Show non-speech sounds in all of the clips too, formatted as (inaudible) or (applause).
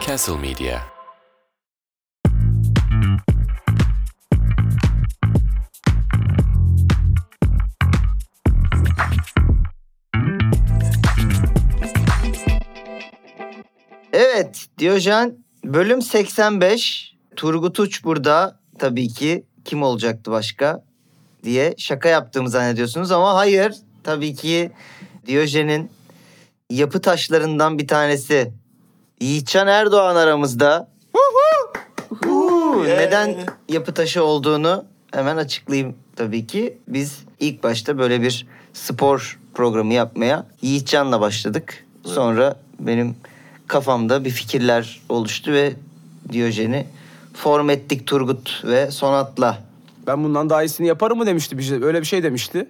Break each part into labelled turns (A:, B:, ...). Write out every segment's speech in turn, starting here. A: Castle Media.
B: Evet Diyojen bölüm 85 Turgut Uç burada tabii ki kim olacaktı başka diye şaka yaptığımı zannediyorsunuz ama hayır tabii ki Diyojen'in yapı taşlarından bir tanesi Yiğitcan Erdoğan aramızda. Uhu, Neden yapı taşı olduğunu hemen açıklayayım tabii ki. Biz ilk başta böyle bir spor programı yapmaya Yiğitcan'la başladık. Sonra benim kafamda bir fikirler oluştu ve Diyojen'i form ettik Turgut ve Sonat'la.
C: Ben bundan daha iyisini yaparım mı demişti bir şey. Öyle bir şey (laughs) demişti.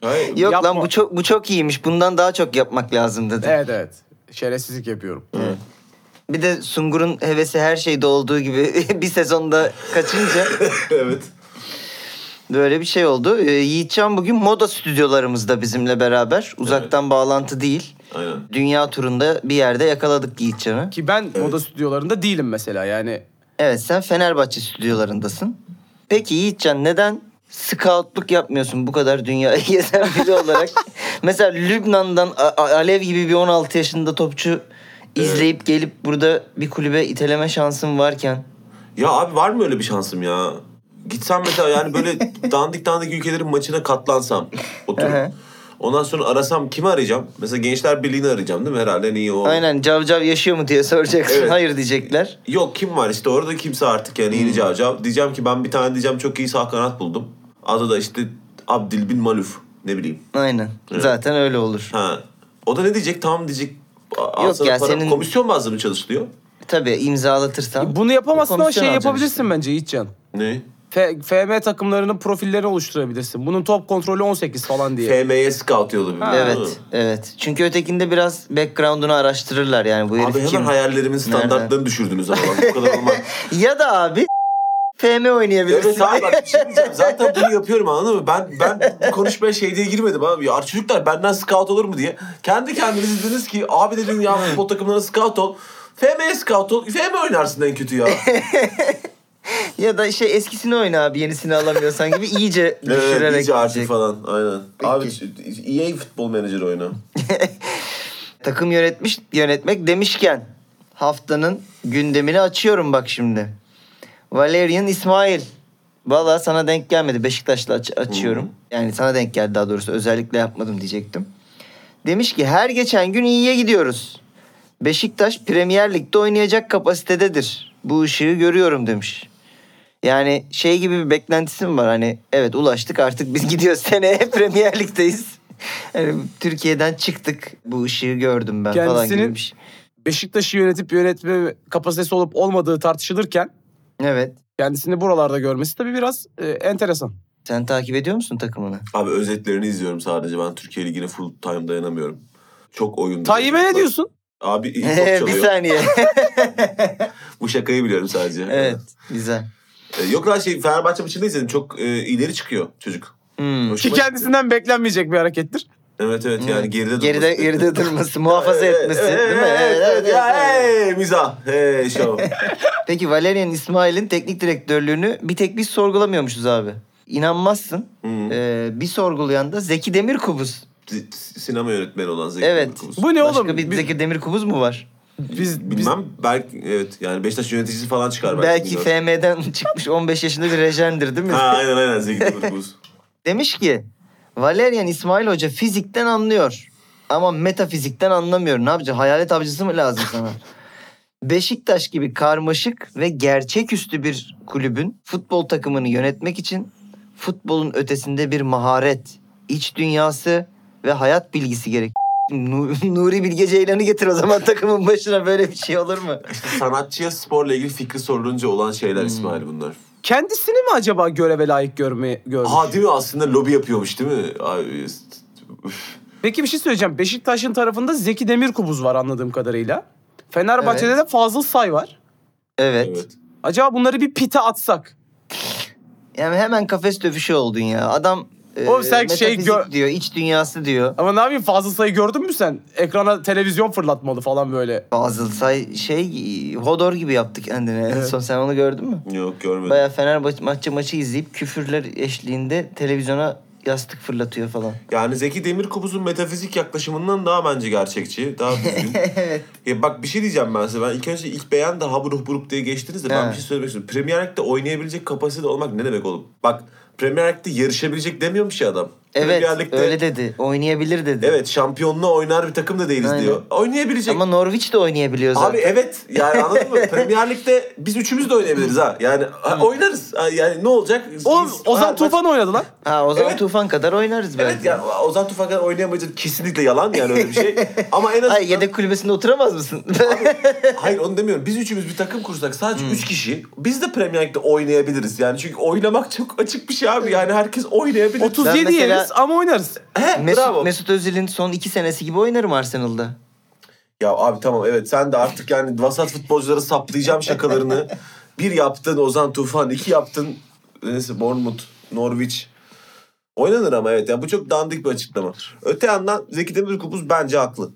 D: Hayır.
B: Yok
C: Yapma.
B: lan bu çok bu çok iyiymiş. Bundan daha çok yapmak lazım dedi.
C: evet evet. Şerefsizlik yapıyorum.
B: Bir de Sungur'un hevesi her şeyde olduğu gibi (laughs) bir sezonda kaçınca
D: (laughs) evet.
B: Böyle bir şey oldu. Ee, Yiğitcan bugün moda stüdyolarımızda bizimle beraber. Uzaktan bağlantı değil.
D: Aynen.
B: Dünya turunda bir yerde yakaladık Yiğitcan'ı.
C: Ki ben moda stüdyolarında değilim mesela yani.
B: Evet sen Fenerbahçe stüdyolarındasın. Peki Yiğitcan neden scoutluk yapmıyorsun bu kadar dünyayı (laughs) gezen biri olarak? Mesela Lübnan'dan A- A- Alev gibi bir 16 yaşında topçu izleyip gelip burada bir kulübe iteleme şansın varken.
D: Ya abi var mı öyle bir şansım ya? Gitsem mesela
B: (laughs)
D: yani böyle dandik dandik ülkelerin maçına katlansam
B: Aha.
D: oturup. Ondan sonra arasam kimi arayacağım? Mesela Gençler Birliği'ni arayacağım değil mi? Herhalde en iyi o.
B: Aynen cavcav yaşıyor mu diye soracaksın.
D: Evet.
B: Hayır diyecekler.
D: Yok kim var işte orada kimse artık yani yeni
B: Hmm.
D: cavcav. Diyeceğim ki ben bir tane diyeceğim çok iyi sağ kanat buldum. Adı da işte Abdil bin Maluf. Ne bileyim.
B: Aynen. Zaten öyle olur.
D: Ha. O da ne diyecek? Tamam diyecek. Al
B: Yok
D: sana
B: ya,
D: para.
B: senin-
D: Komisyon bazlı mı çalışılıyor?
B: Tabii imzalatırsan.
C: E, Bunu yapamazsın ama
B: Komisyon
C: şey
B: alacaksın
C: yapabilirsin
B: işte.
C: bence Yiğitcan.
D: Ne?
C: F- FM takımlarının profillerini oluşturabilirsin. Bunun top kontrolü 18 falan diye.
D: FM'ye scout yolu. bir- Değil mi?
B: Evet, evet. Çünkü ötekinde biraz background'unu araştırırlar yani bu herif
D: Abi hemen
B: kim?
D: hayallerimin standartlarını düşürdünüz ama bak bu
B: (laughs)
D: kadar olmaz.
B: Ya da abi (laughs) FM oynayabilirsin.
D: evet abi bak bir şey diyeceğim. Zaten bunu yapıyorum anladın mı? Ben ben bu konuşmaya şey diye girmedim abi. Ya çocuklar benden scout olur mu diye. Kendi kendiniz dediniz ki abi dedin ya futbol takımlarına scout ol. FM'ye scout ol. FM oynarsın en kötü ya.
B: (laughs)
D: (laughs)
B: ya da şey eskisini oyna abi yenisini alamıyorsan gibi iyice düşürerek.
D: (laughs) evet, iyice artık
B: gidecek.
D: falan. Aynen. Abi
B: Peki.
D: EA futbol menajer oyna.
B: Takım yönetmiş yönetmek demişken haftanın gündemini açıyorum bak şimdi. Valerian İsmail. Valla sana denk gelmedi. Beşiktaş'la aç- açıyorum. Yani sana denk geldi daha doğrusu. Özellikle yapmadım diyecektim. Demiş ki her geçen gün iyiye gidiyoruz. Beşiktaş Premier Lig'de oynayacak kapasitededir. Bu ışığı görüyorum demiş. Yani şey gibi bir beklentisi mi var? Hani evet ulaştık artık biz (laughs) gidiyoruz seneye Premier Lig'deyiz. (laughs) Yani Türkiye'den çıktık. Bu ışığı gördüm ben falan
C: Kendisinin-
B: gibi bir şey.
C: Beşiktaş'ı yönetip yönetme kapasitesi olup olmadığı tartışılırken
B: Evet.
C: kendisini buralarda görmesi tabii biraz e, enteresan.
B: Sen takip ediyor musun takımını?
D: Abi özetlerini izliyorum sadece. Ben Türkiye Ligi'ne full time dayanamıyorum. Çok oyun.
C: Tayyip'e ne diyorsun?
D: Abi iyi
B: (laughs)
D: top
B: bir
D: çalıyor.
B: saniye.
D: Bu şakayı biliyorum sadece.
B: evet. Güzel.
D: Ee, Yok lan şey Fenerbahçe maçında izledim. Çok e, ileri çıkıyor çocuk.
B: Hmm.
D: Hoşuma
C: Ki
D: gitti.
C: kendisinden beklenmeyecek bir harekettir.
D: Evet evet yani geride durması.
B: Geride geride
D: (laughs)
B: durması, muhafaza
D: Evet,
B: etmesi,
D: evet,
B: değil mi?
D: Evet,
B: Evet, evet, evet,
D: ya,
B: evet.
D: hey, mizah.
B: (laughs)
D: Hey, şov.
B: Peki Valerian İsmail'in teknik direktörlüğünü bir tek biz sorgulamıyormuşuz abi. İnanmazsın.
D: Hmm.
B: Ee, bir sorgulayan da Zeki Demirkubuz.
D: S- Sinema yönetmeni olan Zeki
B: Evet.
D: Demirkubuz.
C: Bu ne
B: Başka
C: oğlum?
B: bir
C: Biz-
B: Zeki Demirkubuz mu var?
C: biz, biz
D: Bilmem belki evet yani Beşiktaş yöneticisi falan çıkar
B: Belki
D: bilmiyorum.
B: FM'den (laughs) çıkmış 15 yaşında bir rejendir değil mi?
D: Ha aynen aynen Zeki Demirkubuz.
B: Demiş ki Valerian İsmail Hoca fizikten anlıyor. Ama metafizikten anlamıyor. Ne yapacaksın? Hayalet avcısı mı lazım sana? (laughs) Beşiktaş gibi karmaşık ve gerçeküstü bir kulübün futbol takımını yönetmek için futbolun ötesinde bir maharet, iç dünyası ve hayat bilgisi gerek. (laughs) Nu- Nuri Bilge Ceylan'ı getir o zaman takımın başına böyle bir şey olur mu?
D: İşte sanatçıya sporla ilgili fikri sorulunca olan şeyler
B: Hmm.
D: İsmail bunlar.
C: kendisini mi acaba göreve layık görme görmüş?
D: Aha değil mi aslında lobi yapıyormuş değil mi? Abi, üf.
C: Peki bir şey söyleyeceğim. Beşiktaş'ın tarafında Zeki Demirkubuz var anladığım kadarıyla. Fenerbahçe'de
B: Evet.
C: de Fazıl Say var.
B: Evet.
D: evet.
C: Acaba bunları bir pite atsak.
B: Yani hemen kafes dövüşü oldun ya. Adam e,
C: Oğlum sen şey
B: metafizik
C: gö-
B: diyor, iç dünyası diyor.
C: Ama ne yapayım fazla sayı gördün mü sen? Ekrana televizyon fırlatmalı falan böyle.
B: Fazıl Say şey Hodor gibi yaptı kendini. En son sen onu gördün mü?
D: Yok görmedim.
B: Baya Fenerbahçe maçı izleyip küfürler eşliğinde televizyona yastık fırlatıyor falan.
D: Yani Zeki Demirkubuz'un metafizik yaklaşımından daha bence
B: (laughs)
D: gerçekçi. Daha düzgün.
B: evet.
D: ya bak bir şey diyeceğim ben size. Ben ilk önce ilk beğen de haburuk buruk diye geçtiniz de ben
B: Evet.
D: bir şey söylemek istiyorum. Premier Lig'de oynayabilecek kapasitede olmak ne demek oğlum? Bak Premier Lig'de yarışabilecek demiyormuş ya adam. Premier
B: Evet
D: Lig'de-
B: öyle dedi. Oynayabilir dedi.
D: Evet şampiyonluğa oynar bir takım da değiliz
B: Aynen.
D: diyor. Oynayabilecek.
B: Ama Norwich de oynayabiliyor zaten.
D: Abi evet yani
B: (laughs)
D: anladın mı? Premier Lig'de biz üçümüz de oynayabiliriz ha. Yani ha, oynarız. Ha, Yani ne olacak?
C: Oğlum
D: Biz-
C: Ozan
D: Ha,
C: Tufan oynadı lan.
B: Ha o zaman
D: Evet.
B: Tufan kadar oynarız
D: Evet
B: belki.
D: yani Ozan Tufan kadar oynayamayacak kesinlikle yalan yani öyle bir
B: (laughs)
D: şey. Ama en azından...
B: Ay yedek kulübesinde oturamaz mısın?
D: (laughs) Hayır onu demiyorum. Biz üçümüz bir takım kursak sadece üç kişi biz de Premier Lig'de oynayabiliriz. Yani çünkü oynamak çok açık bir şey abi. Yani herkes oynayabilir.
C: 37
B: Ben mesela-
C: yeriz ama oynarız.
D: He, bravo.
B: Mesut, Mesut Özil'in son iki senesi gibi oynarım Arsenal'da.
D: Ya abi tamam evet sen de artık yani vasat futbolculara saplayacağım şakalarını. Bir yaptın Ozan Tufan, iki yaptın neyse Bournemouth, Norwich. Oynanır ama evet ya bu çok dandik bir açıklama. Öte yandan Zeki Demirkubuz bence haklı.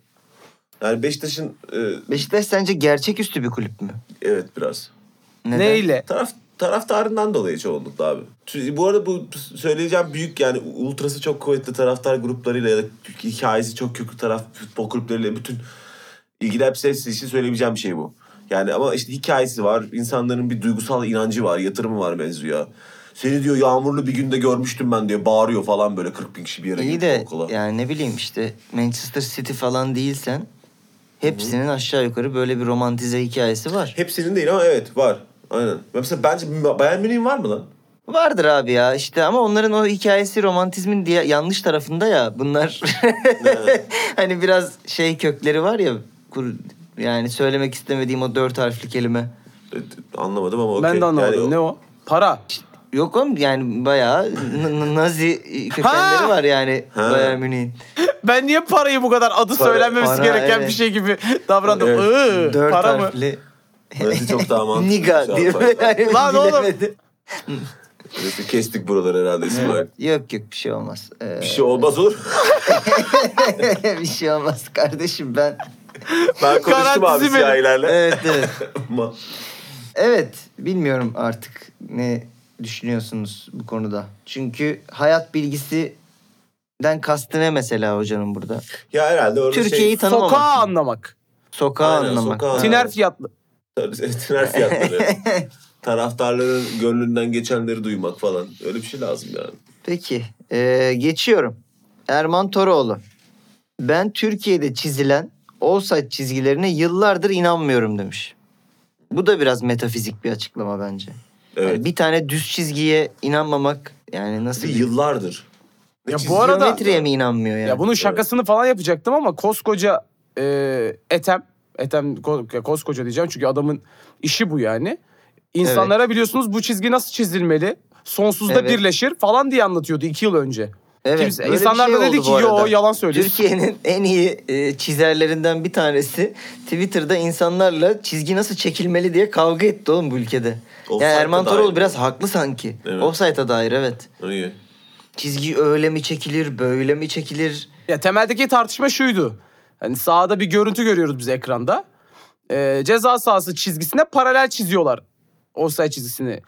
D: Yani Beşiktaş'ın e,
B: Beşiktaş sence gerçeküstü bir kulüp mü?
D: evet biraz.
B: Neden?
C: Neyle?
D: Taraf taraftarından dolayı çoğunlukla abi. Tü- Bu arada bu söyleyeceğim büyük yani ultrası çok kuvvetli taraftar gruplarıyla ya da hikayesi çok köklü taraf futbol kulüpleriyle bütün ilgili hepsi hepsi için söyleyebileceğim bir şey bu. Yani ama işte hikayesi var. insanların bir duygusal inancı var. Yatırımı var benziyor. Seni diyor yağmurlu bir günde görmüştüm ben diyor. Bağırıyor falan böyle 40 bin kişi bir yere
B: İyi
D: gidip
B: de
D: okula.
B: yani ne bileyim işte Manchester City falan değilsen hepsinin aşağı yukarı böyle bir romantize hikayesi var.
D: Hepsinin değil ama evet var. Aynen. Mesela bence Bayern Münih'in var mı lan?
B: Vardır abi ya işte ama onların o hikayesi romantizmin diye yanlış tarafında ya bunlar (laughs) hani biraz şey kökleri var ya kur- yani söylemek istemediğim o dört harfli kelime.
D: E, Anlamadım ama okey.
C: Ben de anlamadım.
D: Yani o-
C: ne o? Para. (laughs)
B: Yok oğlum yani bayağı n- n- nazi kökenleri
C: Ha!
B: var yani
D: Ha.
B: Bayern Münih'in.
C: Ben niye parayı bu kadar adı
D: Para-
C: söylenmemesi
B: para,
C: gereken
B: evet.
C: bir şey gibi (laughs) davrandım?
D: Evet.
C: Iı,
B: Dört
C: para mı?
B: harfli
D: Burası
B: (laughs)
D: çok daha mantıklı. şey Şu
B: niga
D: an
B: diye (laughs)
D: fark ettim.
B: böyle
C: Lan oğlum!
B: bilemedi.
D: Burası kestik buraları herhalde İsmail.
B: Yok yok bir şey olmaz. Ee,
D: Bir şey olmaz olur. (laughs)
B: (laughs) bir şey olmaz kardeşim ben.
D: Ben konuştum abi
C: Garantisi benim.
D: siyahilerle. (laughs)
B: Evet evet.
D: Ama
B: Evet, bilmiyorum artık ne düşünüyorsunuz bu konuda. Çünkü hayat bilgisinden kastı ne mesela hocanın burada?
D: ya herhalde orada
B: Türkiye'yi
D: şey...
B: tanımamak.
C: Sokağı anlamak.
B: Sokağı
D: Aynen,
B: anlamak.
D: sokağı. Ha.
C: Tiner fiyatlı.
D: (laughs)
B: (laughs)
D: Tiner fiyatları. Taraftarların gönlünden geçenleri duymak falan. Öyle bir şey lazım yani.
B: Peki, ee, geçiyorum. Erman Toroğlu. Ben Türkiye'de çizilen offside çizgilerine yıllardır inanmıyorum demiş. Bu da biraz metafizik bir açıklama bence. Yani
D: Evet.
B: bir tane düz çizgiye inanmamak yani nasıl
D: Bir
B: bir,
D: yıllardır. Ne
C: Ya bu
D: çizgi-
C: arada-
B: geometriye mi inanmıyor yani?
C: Ya bunun şakasını falan yapacaktım ama koskoca e, Etem, Etem ko- ya koskoca diyeceğim çünkü adamın işi bu yani. İnsanlara biliyorsunuz bu çizgi nasıl çizilmeli? Sonsuzda
B: Evet.
C: birleşir falan diye anlatıyordu iki yıl önce.
B: Evet.
C: Kimse-
B: böyle bir
C: insanlar
B: şey
C: da dedi
B: oldu
C: ki
B: bu
C: yo
B: arada."
C: yalan söylüyor. (laughs)
B: Türkiye'nin en iyi e, çizerlerinden bir tanesi Twitter'da insanlarla çizgi nasıl çekilmeli diye kavga etti oğlum bu ülkede.
D: Offside'a
B: yani Erman
D: dair
B: Toroğlu
D: mi?
B: biraz haklı sanki.
D: Evet.
B: Offside'a dair evet.
D: İyi.
B: Çizgi öyle mi çekilir, böyle mi çekilir?
C: Ya temeldeki tartışma şuydu. Hani sahada bir görüntü görüyoruz biz ekranda. Ee, ceza sahası çizgisine paralel çiziyorlar. Offside çizgisini.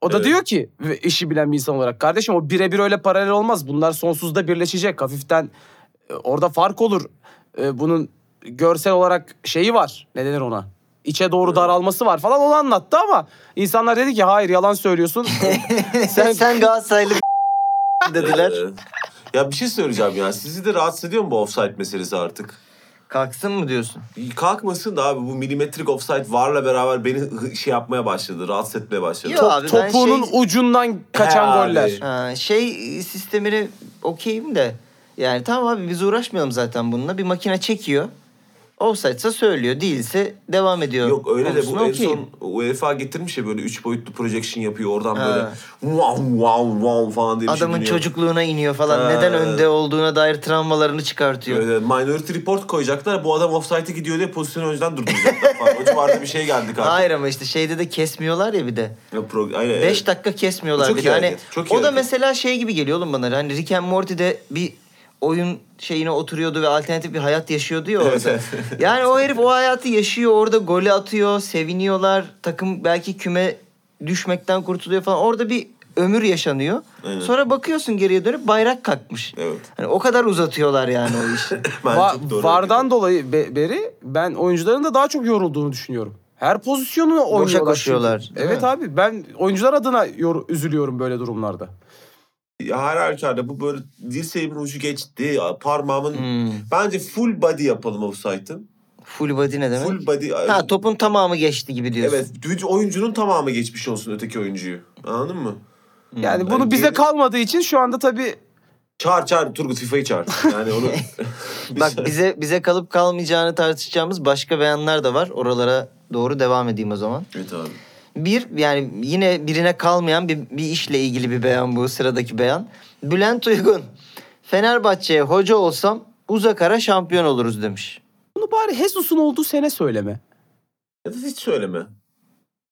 C: O da
D: Evet.
C: diyor ki ve işi bilen bir insan olarak kardeşim o birebir öyle paralel olmaz. Bunlar sonsuzda birleşecek. Hafiften e, orada fark olur. E, bunun görsel olarak şeyi var. Ne denir ona? İçe doğru daralması var falan onu anlattı ama insanlar dedi ki hayır yalan söylüyorsun.
B: Sen sen Galatasaraylı (laughs) dediler.
D: Ee, ya bir şey söyleyeceğim ya. Sizi de rahatsız ediyor mu bu offside meselesi artık?
B: Kalksın mı diyorsun?
D: Kalkmasın da abi bu milimetrik offside varla beraber beni hı- şey yapmaya başladı. Rahatsız etmeye başladı.
B: Yok abi ben
C: Topuğunun
B: şey,
C: ucundan kaçan
D: He abi.
C: goller.
B: ha, şey sistemine okeyim de yani tamam abi biz uğraşmayalım zaten bununla. Bir makine çekiyor. Offside'sa söylüyor. Değilse devam ediyor.
D: Yok öyle de bu
B: Konusuna
D: en
B: okeyim.
D: son UEFA getirmiş ya böyle üç boyutlu projection yapıyor oradan
B: Ha.
D: böyle wow wow wow falan diye bir şey
B: Adamın
D: dönüyor.
B: çocukluğuna iniyor falan.
D: Ha.
B: Neden önde olduğuna dair travmalarını çıkartıyor.
D: Böyle Minority Report koyacaklar. Bu adam offside'e gidiyor diye pozisyonu önceden durduracaklar falan. O civarda bir şey geldi kanka.
B: Hayır ama işte şeyde de kesmiyorlar ya bir de.
D: Ya pro- aynen,
B: 5
D: evet.
B: dakika kesmiyorlar
D: Çok
B: bir
D: iyi
B: de. Hani
D: hareket, çok iyi
B: o da
D: hareket.
B: mesela şey gibi geliyor oğlum bana. Hani Rick and Morty'de bir oyun şeyine oturuyordu ve alternatif bir hayat yaşıyordu ya
D: Evet,
B: orada.
D: evet.
B: (laughs) yani o herif o hayatı yaşıyor orada golü atıyor, seviniyorlar. Takım belki küme düşmekten kurtuluyor falan. Orada bir ömür yaşanıyor.
D: Aynen.
B: Sonra bakıyorsun geriye dönüp bayrak kalkmış.
D: Evet.
B: Hani o kadar uzatıyorlar yani o
D: (laughs)
B: işi.
D: Ben
C: Va-
D: çok doğru hareket.
C: vardan dolayı be- beri ben oyuncuların da daha çok yorulduğunu düşünüyorum. Her pozisyonu oynuyorlar. çünkü.
B: koşuyorlar, değil
C: Evet
B: mi?
C: abi ben oyuncular adına yor- üzülüyorum böyle durumlarda.
D: Ya her halükarda bu böyle dirseğimin ucu geçti. Parmağımın
B: Hmm.
D: Bence full body yapalım offside'ın.
B: Full body ne demek?
D: Full body.
B: Ha topun tamamı geçti gibi diyorsun.
D: evet. Oyuncunun tamamı geçmiş olsun öteki oyuncuyu. Anladın mı?
C: Yani
D: ben
C: bunu bize
D: geri-
C: kalmadığı için şu anda tabii
D: Çağır çağır Turgut FIFA'yı çağır. Yani onu
B: (laughs) Bak bize bize kalıp kalmayacağını tartışacağımız başka beyanlar da var. Oralara doğru devam edeyim o zaman.
D: (laughs) Evet abi.
B: Bir yani yine birine kalmayan bir, bir işle ilgili bir beyan bu sıradaki beyan. Bülent Uygun. Fenerbahçe'ye hoca olsam uzak ara şampiyon oluruz demiş.
C: bunu bari Hesus'un olduğu sene söyleme.
D: Ya da hiç söyleme.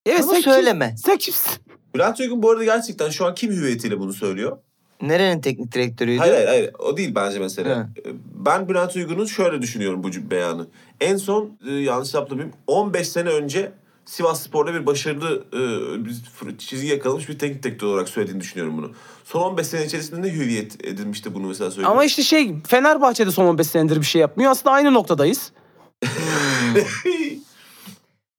C: Evet
B: Ama
C: sen kim-
B: söyleme.
C: sen kimsin?
D: Bülent Uygun bu arada gerçekten şu an kim hüviyetiyle bunu söylüyor?
B: Nerenin teknik direktörüydü?
D: Hayır hayır hayır. O değil bence mesele. Ee,
B: Ha.
D: Ben Bülent Uygun'un şöyle düşünüyorum bu cüm- beyanı. En son e, yanlış hatırlamayayım 15 sene önce Sivas Spor'da bir başarılı e, bir fır- çizgi yakalamış bir teknik direktör olarak söylediğini düşünüyorum bunu. Son 15 sene içerisinde ne hüviyet edinmişti bunu mesela söylüyor.
C: Ama işte şey Fenerbahçe'de son 15 senedir bir şey yapmıyor. Aslında aynı noktadayız.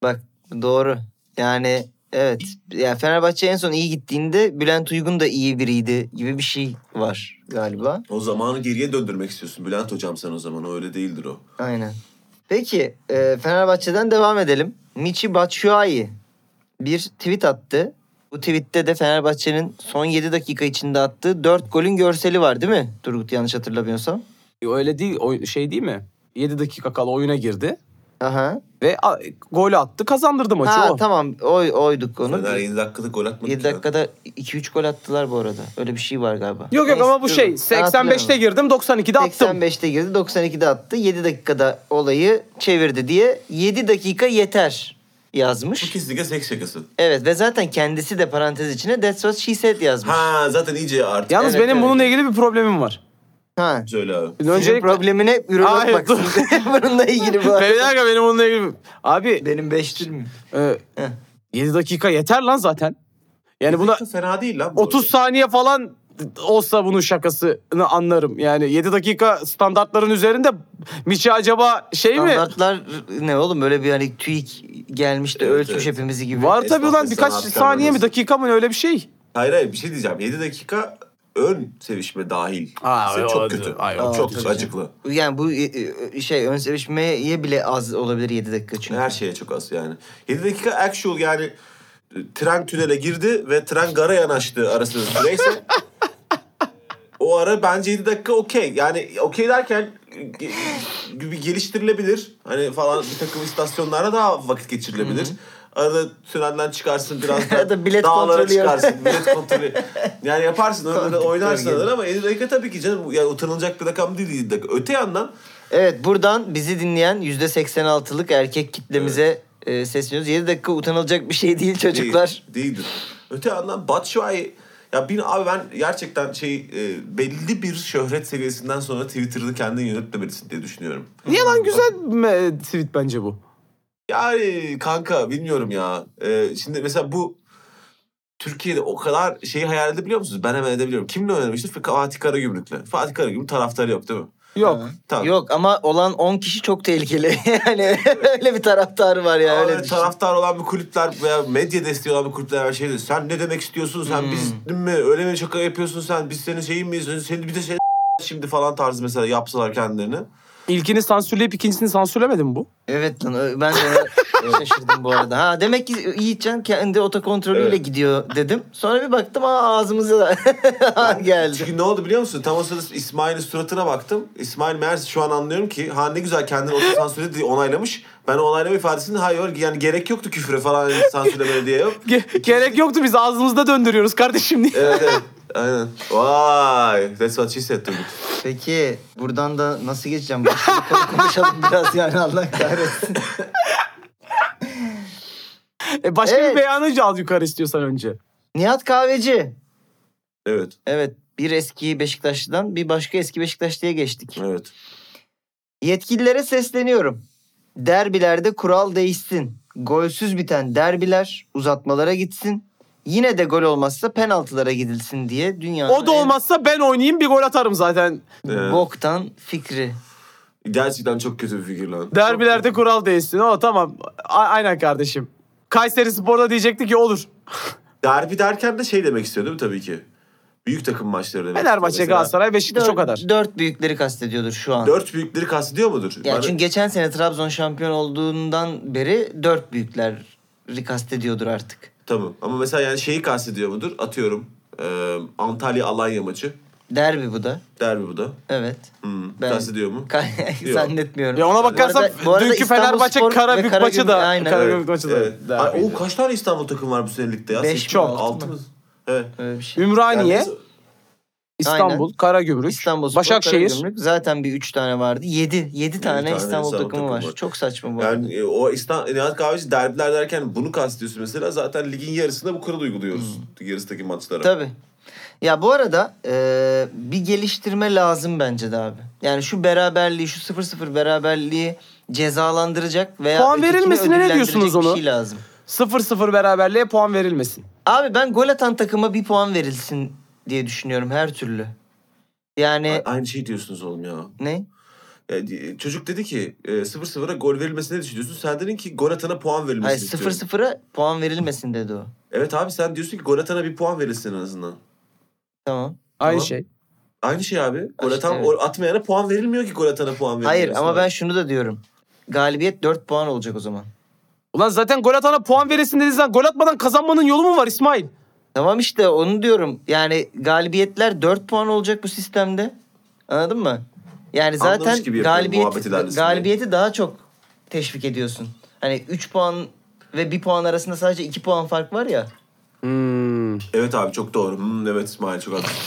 B: Bak doğru. Yani evet. Ya Fenerbahçe en son iyi gittiğinde Bülent Uygun da iyi biriydi gibi bir şey var galiba.
D: O zamanı geriye döndürmek istiyorsun Bülent hocam sen o zaman o öyle değildir o.
B: Aynen. Peki e, Fenerbahçe'den devam edelim. Michi Batshuayi bir tweet attı. Bu tweette de Fenerbahçe'nin son 7 dakika içinde attığı 4 golün görseli var değil mi? Turgut yanlış hatırlamıyorsam.
C: E, Öyle değil oy- şey değil mi? 7 dakika kala oyuna girdi
B: Aha.
C: ve a- golü attı kazandırdı maçı
B: Ha
C: o.
B: tamam oy, oyduk onu.
D: Fener 7 dakikada gol atmadı.
B: 7
D: ki ya.
B: dakikada 2-3 gol attılar bu arada. Öyle bir şey var galiba.
C: Yok yok
B: Neyse,
C: ama bu
B: dur.
C: şey
B: Ben hatırlamıyorum.
C: 85'te girdim 92'de attım.
B: 85'te girdi 92'de attı. 7 dakikada olayı çevirdi diye 7 dakika yeter
D: Bu
B: yazmış.
D: kesinlikle seks şakası.
B: Evet ve zaten kendisi de parantez içine that's what she said yazmış. Ha.
D: Ha zaten iyice artık.
C: Yalnız
B: Evet,
C: benim
B: evet.
C: bununla ilgili bir problemim var.
D: Söyle abi.
C: Şimdi
B: Önce
C: öncelikle
B: problemine ürolog
C: Hayır,
B: baksın. (laughs) Bununla ilgili
C: (laughs)
B: bu.
C: Benim- bir dakika, benim bununla ilgili. Abi
B: Benim 5 mi?
C: e,
B: Heh.
C: 7 dakika yeter lan zaten. Yani Hani buna
D: Fena değil lan. bu
C: 30 saniye falan olsa bunun şakasını anlarım. Yani 7 dakika standartların üzerinde Miçi acaba şey mi?
B: Standartlar ne oğlum böyle bir hani TÜİK gelmiş de
D: Evet,
B: ölçmüş
D: evet.
B: hepimizi gibi.
C: Var tabii
D: Esnaf
C: ulan
D: ve
C: birkaç
D: sanatkarlar
C: saniye mi
D: arasında.
C: dakika mı öyle bir şey.
D: Hayır hayır bir şey diyeceğim. 7 dakika ön sevişme dahil.
C: Aa,
D: Mesela
C: o- o-
D: çok kötü.
C: ay, o
D: çok
B: kötü.
D: acıklı.
B: Yani bu e, e, şey ön sevişmeye bile az olabilir 7 dakika çünkü.
D: Her şeye çok az yani. 7 dakika actual yani e, tren tünele girdi ve tren gara yanaştı arası süreyse. o ara bence 7 dakika okey. Yani okey derken ge- gibi geliştirilebilir. Hani falan bir takım istasyonlara daha vakit geçirilebilir. Arada trenden çıkarsın
B: (laughs)
D: biraz
B: Ya da
D: da
B: bilet
D: dağlara
B: kontrolü yap.
D: çıkarsın. Bilet kontrolü. Yani yaparsın orada da
B: Kontrol
D: oynarsın
B: gelir.
D: arada ama 7 dakika tabii ki canım. Yani utanılacak bir rakam değil 7 dakika. Öte yandan
B: Evet buradan bizi dinleyen %86'lık erkek kitlemize e, sesleniyoruz. 7 dakika utanılacak bir şey değil çocuklar.
D: Değil, değildir. Öte yandan Batshuayi ya bin abi ben gerçekten şey e, belli bir şöhret seviyesinden sonra Twitter'ı kendin yönetmemelisin diye düşünüyorum.
C: Niye lan güzel me- tweet bence bu.
D: Yani kanka bilmiyorum ya. E, şimdi mesela bu Türkiye'de o kadar şeyi hayal edebiliyor musunuz? Ben hemen edebiliyorum. Kimle oynamıştı? Fatih Karagümrük'le. Fatih Karagümrük taraftarı yok değil mi?
C: Yok.
D: Tamam.
B: Yok ama olan 10 kişi çok tehlikeli. (laughs) yani öyle bir taraftarı var ya
D: Ama
B: öyle
D: öyle
B: düşün.
D: taraftar olan bir kulüpler veya medya desteği olan bir kulüpler her şeyde. Sen ne demek istiyorsun? Sen
B: Hmm.
D: biz mi? Öyle mi şaka yapıyorsun sen? Biz senin şeyin miyiz? Seni bir de şey şimdi falan tarzı mesela yapsalar kendilerini.
C: İlkini sansürleyip ikincisini sansürlemedi mi bu?
B: Evet lan ö- ben de (laughs) Şaşırdım bu arada. Ha demek ki Yiğitcan kendi otokontrolüyle
D: Evet.
B: gidiyor dedim. Sonra bir baktım aa ağzımıza da (laughs) geldi.
D: Çünkü ne oldu biliyor musun? Tam o sırada İsmail'in suratına baktım. İsmail meğerse şu an anlıyorum ki ha ne güzel kendini otosansüre diye onaylamış. Ben o onaylama ifadesini hayır yani gerek yoktu küfüre falan hani sansürlemeye diye
B: (laughs)
D: yok.
C: Ge- (laughs) gerek yoktu biz ağzımızda döndürüyoruz kardeşim (laughs) diye.
D: Evet evet. Aynen. Vay. That's what she said Turgut.
B: Peki buradan da nasıl geçeceğim? Başka bir (laughs) konu konuşalım biraz yani Allah kahretsin.
C: E başka
B: Evet.
C: bir beyanı al yukarı istiyorsan önce.
B: Nihat Kahveci.
D: Evet.
B: Evet bir eski Beşiktaşlı'dan bir başka eski Beşiktaşlı'ya geçtik.
D: Evet.
B: Yetkililere sesleniyorum. Derbilerde kural değişsin. Golsüz biten derbiler uzatmalara gitsin. Yine de gol olmazsa penaltılara gidilsin diye dünyanın
C: O da olmazsa ben oynayayım bir gol atarım zaten.
B: en
D: Ee,
B: boktan fikri.
D: gerçekten çok kötü bir figür lan.
C: Derbilerde kural değişsin. O tamam. A- aynen kardeşim. Kayseri Spor'da diyecekti ki olur.
D: Derbi derken de şey demek istiyor değil mi tabii ki? Büyük takım maçları demek
C: Fenerbahçe,
D: istiyor. Mesela
C: Galatasaray, Beşiktaş o kadar.
B: Dört büyükleri kastediyordur şu an.
D: Dört büyükleri kastediyor mudur?
B: Ya
D: Ben-
B: çünkü geçen sene Trabzon şampiyon olduğundan beri dört büyükleri kastediyordur artık.
D: Tamam ama mesela yani şeyi kastediyor mudur? Atıyorum e, Antalya-Alanya maçı.
B: Derbi bu da.
D: Derbi bu da.
B: Evet.
D: Hmm.
B: Ben-
D: Kastediyor mu?
B: Kay- (laughs)
D: Yok.
B: Zannetmiyorum.
C: Ya ona bakarsan dünkü
B: İstanbul
C: Fenerbahçe
B: Spor ve
C: Karabük maçı
B: Karagümrük-
C: da-
B: Aynen.
C: Karagümrük-
D: Evet,
C: maçı da
D: evet.
C: derbiydi.
D: Ay, o kaç tane İstanbul takım var bu senelikte ya?
B: Beş
D: Sekiz
B: mi,
D: mi,
B: altı
D: altı
B: mı?
D: mı? Evet.
B: Öyle bir şey.
C: Ümraniye,
D: Yani
C: İstanbul,
B: Aynen.
C: Karagümrük,
B: İstanbul
C: Başakşehir.
B: Karagümrük. Zaten bir 3 tane vardı. 7. 7 tane,
D: tane
B: İstanbul
D: İstanbul
B: takımı
D: takımı
B: var.
D: var.
B: Çok saçma bu. arada.
D: Yani e, o İstanbul, Nihat Kahveci derbiler derken bunu kastediyorsun mesela. Zaten ligin yarısında bu kuralı uyguluyoruz.
C: Hmm.
D: Yarısındaki maçlara.
B: Tabii. Ya bu arada e, bir geliştirme lazım bence de abi. Yani şu beraberliği, şu 0-0 beraberliği cezalandıracak veya
C: Puan
B: ötekini
C: verilmesine ne
B: ödüllendirecek
C: diyorsunuz
B: bir
C: onu?
B: şey lazım.
C: 0-0 beraberliğe puan verilmesin.
B: Abi ben gol atan takıma bir puan verilsin diye düşünüyorum her türlü. Yani
D: A- Aynı şey diyorsunuz oğlum ya.
B: ne?
D: E, çocuk dedi ki e, 0-0'a gol verilmesini ne düşünüyorsun? Sen dedin ki gol atana puan verilmesini
B: Hayır
D: istiyorum.
B: 0-0'a puan verilmesin dedi o.
D: Evet abi sen diyorsun ki gol atana bir puan verilsin en azından.
B: Tamam.
C: Aynı
D: Tamam.
C: şey.
D: Aynı şey abi. Gol
B: İşte
D: atan,
B: evet.
D: gol atmayana puan verilmiyor ki gol atana puan verilmiyor.
B: Hayır ama
D: aslında.
B: ben şunu da diyorum. Galibiyet 4 puan olacak o zaman.
C: Ulan zaten gol atana puan verilsin dediğinizden gol atmadan kazanmanın yolu mu var İsmail?
B: Tamam işte onu diyorum. Yani galibiyetler 4 puan olacak bu sistemde. Anladın mı? Yani
D: Anlamış
B: zaten
D: gibi yapıyorum muhabbet
B: galibiyeti,
D: ilerlesin
B: galibiyeti daha çok teşvik ediyorsun. Hani 3 puan ve 1 puan arasında sadece 2 puan fark var ya.
D: Hmm. Evet abi çok doğru. Hmm, evet İsmail çok haklısın.
B: (laughs)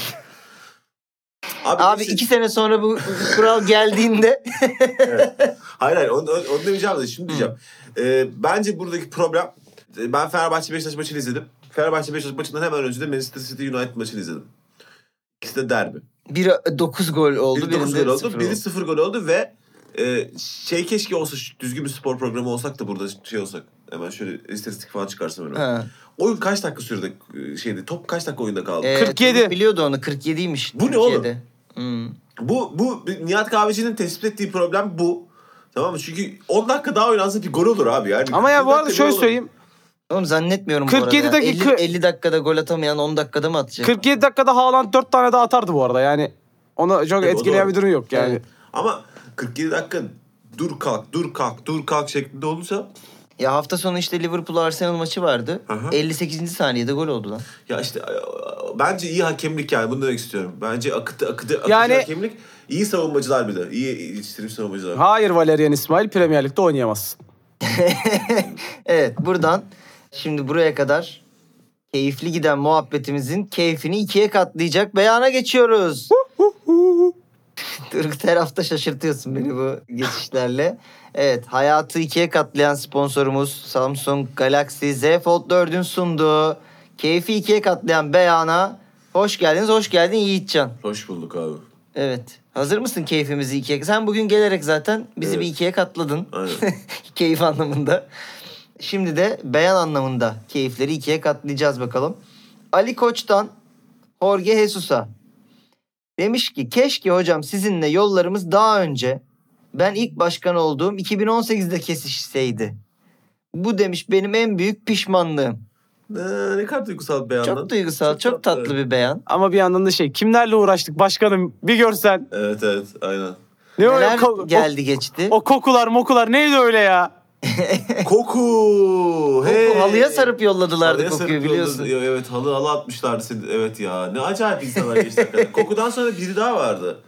B: Abi
D: neyse.
B: 2 sene sonra bu kural geldiğinde
D: (laughs)
B: (laughs)
D: Hayır hayır onu, onu, onu demeyeceğim de
B: Hmm.
D: şunu diyeceğim. Ee, bence buradaki problem e, ben Fenerbahçe Beşiktaş maçını izledim. Fenerbahçe Beşiktaş maçından hemen önce de Manchester City United maçını izledim. İkisi de derbi.
B: biri 9 gol oldu,
D: Biri 9
B: birinde
D: gol
B: sıfır
D: oldu, biri 0 gol oldu ve e, şey keşke olsa şu düzgün bir spor programı olsak da burada şey olsak. Hemen şöyle istatistik falan çıkarsam öyle.
B: Ha.
D: Oyun kaç dakika sürdü e, şeydi? Top kaç dakika oyunda kaldı?
B: Ee,
C: 47.
B: Turgut Biliyordu onu 47'ymiş.
D: Bu ne oğlum?
B: Türkiye'de. Hmm.
D: Bu bu Nihat Kahveci'nin tespit ettiği problem bu. Tamam mı? Çünkü 10 dakika daha oynansa bir gol olur abi yani.
C: Ama ya
D: 10
C: bu arada
D: dakika
C: şöyle
D: gol olur.
C: söyleyeyim.
B: Oğlum zannetmiyorum
C: 47
B: bu arada. ya.
C: dakika-
B: 50, 50 dakikada gol atamayan 10 dakikada mı atacak?
C: 47 dakikada Haaland 4 tane daha atardı bu arada yani. Ona çok
D: o
C: etkileyen
D: doğru.
C: bir durum yok yani.
B: Evet.
D: Ama 47 dakika dur kalk dur kalk dur kalk şeklinde olursa
B: Ya hafta sonu işte Liverpool Arsenal maçı vardı.
D: Aha.
B: 58. saniyede gol oldu lan. (laughs)
D: ya işte e, bence iyi hakemlik yani bunu demek istiyorum. Bence akıtı akıtı akıcı
C: Yani-
D: hakemlik iyi savunmacılar bir de. İyi yetiştirim savunmacılar.
C: Hayır Valerian İsmail Premier Lig'de oynayamaz.
B: Evet buradan şimdi buraya kadar keyifli giden muhabbetimizin keyfini ikiye katlayacak beyana geçiyoruz. Turgut her hafta şaşırtıyorsun beni bu geçişlerle. Evet hayatı ikiye katlayan sponsorumuz Samsung Galaxy Z Fold 4'ün sunduğu keyfi ikiye katlayan beyana hoş geldiniz hoş geldin Yiğitcan.
D: Hoş bulduk abi.
B: Evet. Hazır mısın keyfimizi ikiye? Sen bugün gelerek zaten bizi
D: Evet.
B: bir ikiye katladın.
D: Aynen.
B: (laughs) Keyif anlamında. Şimdi de beyan anlamında keyifleri ikiye katlayacağız bakalım. Ali Koç'tan Jorge Jesus'a demiş ki keşke hocam sizinle yollarımız daha önce ben ilk başkan olduğum 2018'de kesişseydi. Bu demiş benim en büyük pişmanlığım.
D: Ne, ne kadar duygusal beyan lan.
B: Çok duygusal, çok, tatlı bir beyan.
C: Ama bir yandan da şey kimlerle uğraştık başkanım bir görsen.
D: Evet evet aynen.
C: Ne öyle
B: Neler
C: ko- o-
B: geldi geçti.
C: O kokular mokular neydi öyle ya?
D: Koku.
B: Koku
D: hey.
B: halıya sarıp yolladılardı
D: Halıya
B: kokuyu
D: sarıp
B: biliyorsun.
D: yolladı. Evet halı halı atmışlardı seni. Evet ya. Ne acayip insanlar geçti. hakikaten. Kokudan sonra biri daha vardı.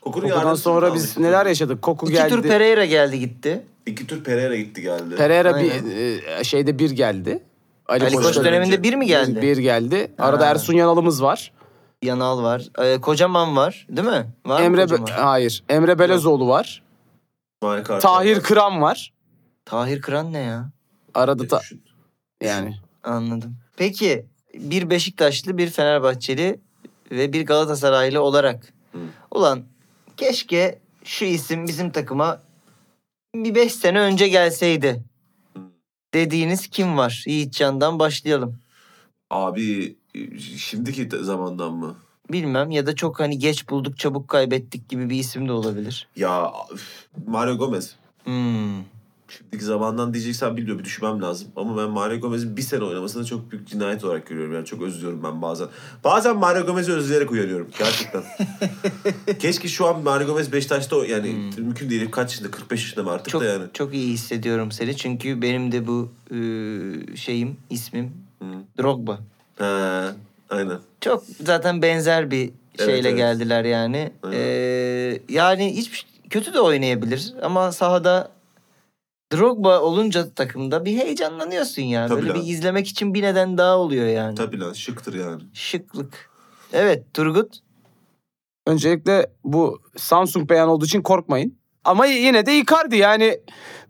D: Kokunun
C: Kokudan
D: yardımcısı
C: sonra
D: kalmış.
C: biz neler yaşadık? Koku
B: İki
C: geldi.
B: tur Pereira geldi gitti.
D: İki tur Pereira gitti geldi.
C: Pereira
B: Aynen.
C: bir e, şeyde bir geldi.
B: Ali
D: Koç
B: Koç
D: dönemi-
B: döneminde bir mi geldi?
C: Bir, bir geldi. Arada Ersun Yanal'ımız var.
B: Yanal var. Ee, kocaman var değil mi? Var mı
C: Emre Be-
B: Kocaman?
C: hayır. Emre Belezoğlu var.
D: İsmail Kartal.
C: Tahir Kıran var.
B: Tahir Kıran ne ya?
C: Arada ta-
D: Düşün.
C: yani
B: Anladım. Peki bir Beşiktaşlı, bir Fenerbahçeli ve bir Galatasaraylı olarak. Ulan keşke şu isim bizim takıma bir beş sene önce gelseydi. Dediğiniz kim var? Yiğitcan'dan başlayalım.
D: Abi e, şimdiki te- zamandan mı?
B: Bilmem ya da çok hani geç bulduk çabuk kaybettik gibi bir isim de olabilir.
D: Ya üf, Mario Gomez.
B: Hmm.
D: Şimdiki zamandan diyeceksen bilmiyorum bir düşünmem lazım. Ama ben Mario Gomez'in bir sene oynamasını çok büyük cinayet olarak görüyorum. Yani çok özlüyorum ben bazen. Bazen Mario Gomez'i özleyerek uyanıyorum gerçekten. Keşke şu an Mario Gomez Beşiktaş'ta o- yani mümkün değil. Kaç yaşında? 45 yaşında mı artık
B: Çok
D: da yani.
B: çok iyi hissediyorum seni çünkü benim de bu e, şeyim ismim
D: Hmm.
B: Drogba.
D: He, aynen.
B: Çok zaten benzer bir
D: Evet,
B: şeyle
D: evet.
B: geldiler yani.
D: Aynen.
B: Ee, yani hiç kötü de oynayabilir ama sahada Drogba olunca takımda bir heyecanlanıyorsun ya.
D: Tabii
B: Böyle
D: lan.
B: bir izlemek için bir neden daha oluyor yani.
D: Tabii lan şıktır yani.
B: Şıklık. Evet Turgut.
C: öncelikle bu Samsung beyan olduğu için korkmayın. Ama yine de Icardi yani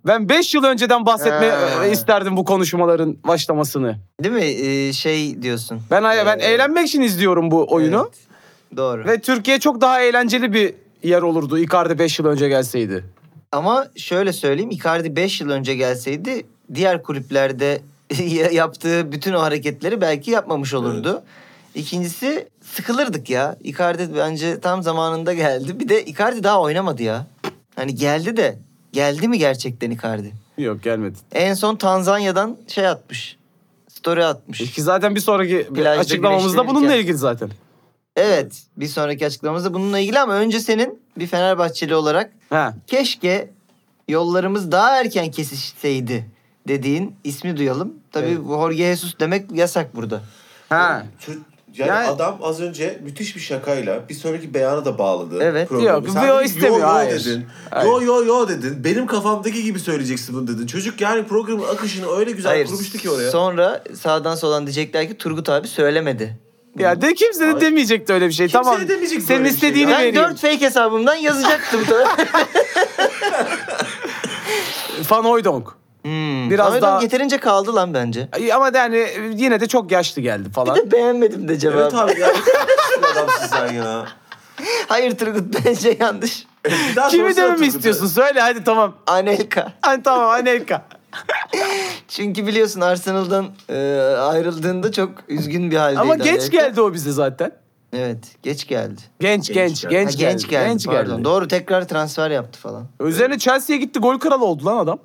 C: ben 5 yıl önceden bahsetme
B: Ha.
C: e, isterdim bu konuşmaların başlamasını.
B: Değil mi? Ee, şey diyorsun.
C: Ben aya- ben
B: Ee,
C: eğlenmek için izliyorum bu oyunu
B: Evet, doğru.
C: ve Türkiye çok daha eğlenceli bir yer olurdu Icardi 5 yıl önce gelseydi.
B: Ama şöyle söyleyeyim Icardi 5 yıl önce gelseydi diğer kulüplerde (laughs) ya- yaptığı bütün o hareketleri belki yapmamış olurdu. İkincisi sıkılırdık ya. Icardi bence tam zamanında geldi. Bir de Icardi daha oynamadı ya. Hani geldi de geldi mi gerçekten Icardi?
C: Yok gelmedi.
B: En son Tanzanya'dan şey atmış. Story atmış.
C: Ki zaten bir sonraki
B: Plajda
C: açıklamamızda
B: güneşlenirken.
C: bununla ilgili zaten.
B: Evet bir sonraki açıklamamızda bununla ilgili ama önce senin bir Fenerbahçeli olarak
C: Ha.
B: keşke yollarımız daha erken kesişseydi dediğin ismi duyalım. Tabii
C: Evet.
B: bu Jorge Jesus demek yasak burada.
C: Ha.
D: Çö- Yani,
C: Yani-
D: adam az önce müthiş bir şakayla bir sonraki beyana da bağladı.
B: Evet,
C: yok,
D: Sen
C: yo
D: dedin,
C: istemiyor,
D: yo, yo
C: hayır.
D: Dedin.
C: Hayır.
D: Yo yo yo dedin. Benim kafamdaki gibi söyleyeceksin bunu dedin. Çocuk yani programın akışını öyle güzel kurmuştu ki oraya.
B: Sonra sağdan soldan diyecekler ki Turgut abi söylemedi.
C: Ya de kimse de
D: Hayır.
C: demeyecekti öyle bir şey.
D: Kimse de
C: tamam.
D: demeyecek
C: Senin
D: böyle bir şey ya.
C: istediğini
B: ben
C: veriyorum.
B: dört fake hesabımdan
C: (laughs)
B: yazacaktım da.
C: Fan Hoydonk.
B: Hmm.
C: Biraz
B: Biraz
C: daha-
B: yeterince kaldı lan bence.
C: Ay, Ama yani yine de çok yaşlı geldi
B: Bir
C: falan.
B: de beğenmedim de cevabı.
D: Evet abi ya. Şu (laughs) adamsın sen ya.
B: Hayır Turgut (laughs) bence yanlış.
D: Bir daha
C: Kimi
D: sorsana
C: dememi
D: Turgut'a.
C: istiyorsun? Söyle hadi tamam.
B: Anelka.
C: Hani tamam Anelka.
B: (laughs) Çünkü biliyorsun Arsenal'dan e, ayrıldığında çok üzgün bir haldeydi.
C: Ama geç
B: Anelka.
C: geldi o bize zaten.
B: Evet geç geldi.
C: Genç genç genç
D: Genç geldi.
B: Ha,
C: genç,
B: genç geldi.
C: Genç
B: pardon.
C: geldi.
B: Doğru tekrar transfer yaptı falan.
C: Üzerine Chelsea'ye gitti gol kralı oldu lan adam.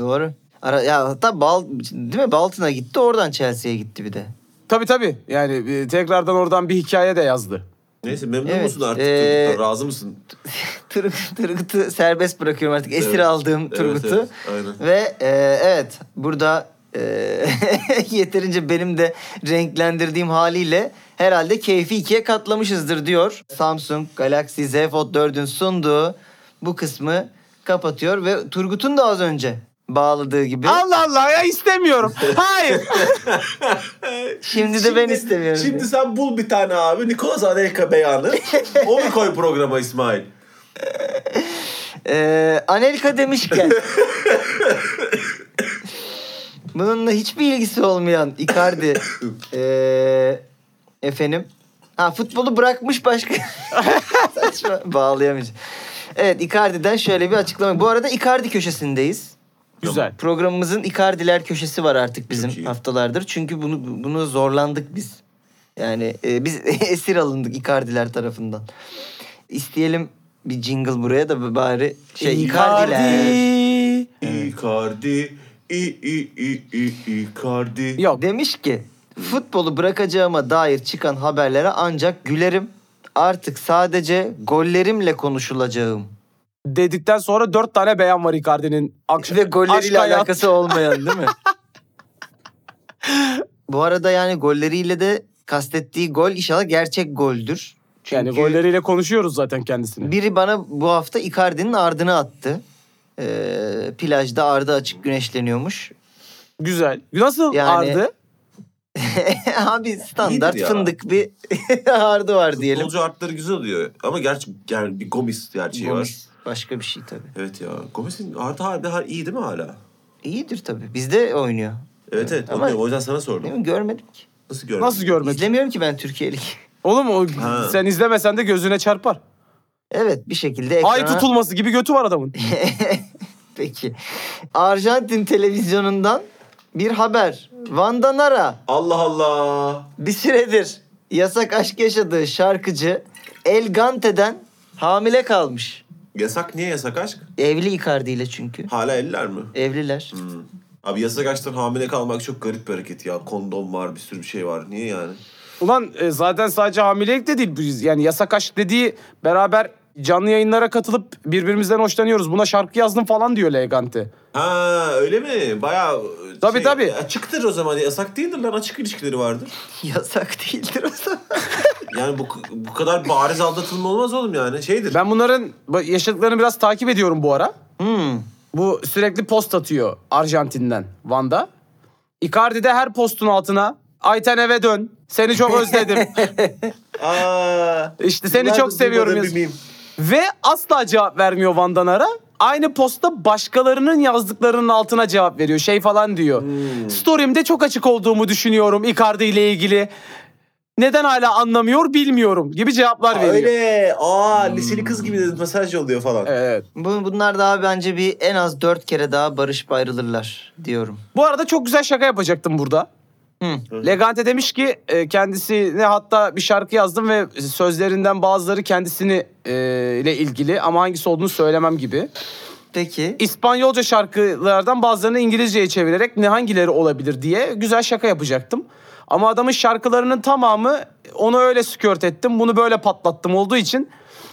B: Doğru. Ara, ya hatta Bal, değil mi? Baltın'a gitti oradan Chelsea'ye gitti bir de. (laughs)
C: Tabii tabii. Yani e, tekrardan oradan bir hikaye de yazdı.
D: Neyse memnun
B: Evet,
D: musun artık?
B: ee,
D: Turgut'tan? Razı mısın?
B: Turgut- Turgut'u serbest bırakıyorum artık. Esir
D: Evet.
B: aldığım
D: Evet,
B: Turgut'u.
D: evet, aynen.
B: Ve e, evet burada e, (laughs) yeterince benim de renklendirdiğim haliyle herhalde keyfi ikiye katlamışızdır diyor. Samsung Galaxy Z Fold 4'ün sunduğu bu kısmı kapatıyor ve Turgut'un da az önce bağladığı gibi.
C: Allah Allah
B: (laughs)
C: ya istemiyorum. Hayır.
B: Şimdi de ben istemiyorum.
D: Şimdi sen bul bir tane abi. Nikolas Anelka
C: (laughs)
D: beyanı. Onu koy programa İsmail.
B: Ee, Anelka demişken. bununla hiçbir ilgisi olmayan Icardi. ee, efendim. Ha futbolu bırakmış başka. (laughs) Saçma, Bağlayamayacağım. Evet Icardi'den şöyle bir açıklama. Bu arada Icardi köşesindeyiz.
C: Güzel.
B: Programımızın Icardiler köşesi var artık
D: Çok
B: bizim
D: iyi.
B: haftalardır. Çünkü bunu bunu zorlandık biz. Yani e, biz (laughs) esir alındık Icardiler tarafından. İsteyelim bir jingle buraya da bari şey Icardiler.
C: Icardi.
D: Icardi. i i i i Icardi.
C: Yok.
B: Demiş ki futbolu bırakacağıma dair çıkan haberlere ancak gülerim. Artık sadece gollerimle konuşulacağım
C: dedikten sonra dört tane beyan var Icardi'nin. Ak-
B: Ve golleriyle
C: aşk hayat-
B: alakası olmayan
D: (laughs)
B: değil mi? Bu arada yani golleriyle de kastettiği gol inşallah gerçek goldür.
C: Yani
B: Çünkü-
C: golleriyle konuşuyoruz zaten kendisini.
B: Biri bana bu hafta Icardi'nin ardını attı. Ee, plajda ardı açık güneşleniyormuş. (laughs)
C: Güzel. Nasıl
B: Yani-
C: ardı?
B: Abi standart
D: İyidir ya.
B: fındık bir (laughs) ardı var diyelim.
D: Futbolcu artları güzel oluyor. Ama gerçi yani bir Gomis gerçeği var.
B: Gomis. Başka bir şey tabii.
D: Evet ya. Gomis'in artı harbi har- iyi değil mi hala?
B: İyidir tabii. Bizde oynuyor.
D: Evet evet.
B: Ama-
D: Ama... O yüzden sana
B: Değil
D: sordum.
B: mi? Görmedim ki.
D: Nasıl gördün?
C: Nasıl görmedin?
B: İzlemiyorum ki ben Türkiye'lik.
C: Oğlum o,
D: Ha.
C: sen izlemesen de gözüne çarpar.
B: (laughs) Evet bir şekilde ekrana...
C: Ay tutulması gibi götü var
D: (laughs)
C: adamın.
B: Peki. Arjantin televizyonundan bir haber. Vanda Nara
D: Allah Allah.
B: bir süredir yasak aşk yaşadığı şarkıcı El Gante'den hamile kalmış.
D: Yasak niye yasak aşk?
B: Evli Icardi ile çünkü.
D: Hala eller mi?
B: Evliler.
D: Hı. Abi yasak aşktan hamile kalmak çok garip bir hareket ya. Kondom var bir sürü bir şey var. Niye yani?
C: Ulan e, zaten sadece hamilelik de değil. Biz, yani yasak aşk dediği beraber canlı yayınlara katılıp birbirimizden hoşlanıyoruz. Buna şarkı yazdım falan diyor Legante.
D: Ha öyle mi? Bayağı e,
C: Tabii, tabii.
D: Açıktır o zaman. Yasak değildir lan. Açık ilişkileri vardır.
B: (laughs) Yasak değildir o zaman.
D: Yani bu, bu kadar bariz aldatılma olmaz oğlum yani. Şeydir.
C: Ben bunların bu- yaşadıklarını biraz takip ediyorum bu ara.
B: Hmm.
C: Bu sürekli post atıyor Arjantin'den Van'da. Icardi de her postun altına Ayten eve dön. Seni çok
D: (laughs)
C: özledim.
D: Aa,
C: İşte seni
D: bunlar
C: çok
D: da
C: seviyorum
D: duymadığım
C: yaz-
D: bir meme.
C: Ve asla cevap vermiyor Van'dan ara. Aynı posta başkalarının yazdıklarının altına cevap veriyor. Şey falan diyor.
D: Hmm.
C: Story'imde çok açık olduğumu düşünüyorum Icardi ile ilgili. Neden hala anlamıyor bilmiyorum gibi cevaplar
D: Aa,
C: veriyor.
D: Öyle. Aa
B: Hmm.
D: liseli kız gibi de mesaj yolluyor falan.
C: Evet.
B: Bu, bunlar daha bence bir en az dört kere daha barışıp ayrılırlar diyorum.
C: Bu arada çok güzel şaka yapacaktım burada.
B: Hı.
C: Legante demiş ki e, kendisine hatta bir şarkı yazdım ve sözlerinden bazıları kendisini e, ile ilgili ama hangisi olduğunu söylemem gibi.
B: Peki.
C: İspanyolca şarkılardan bazılarını İngilizceye çevirerek ne hangileri olabilir diye güzel şaka yapacaktım. Ama adamın şarkılarının tamamı onu öyle skört ettim, bunu böyle patlattım olduğu için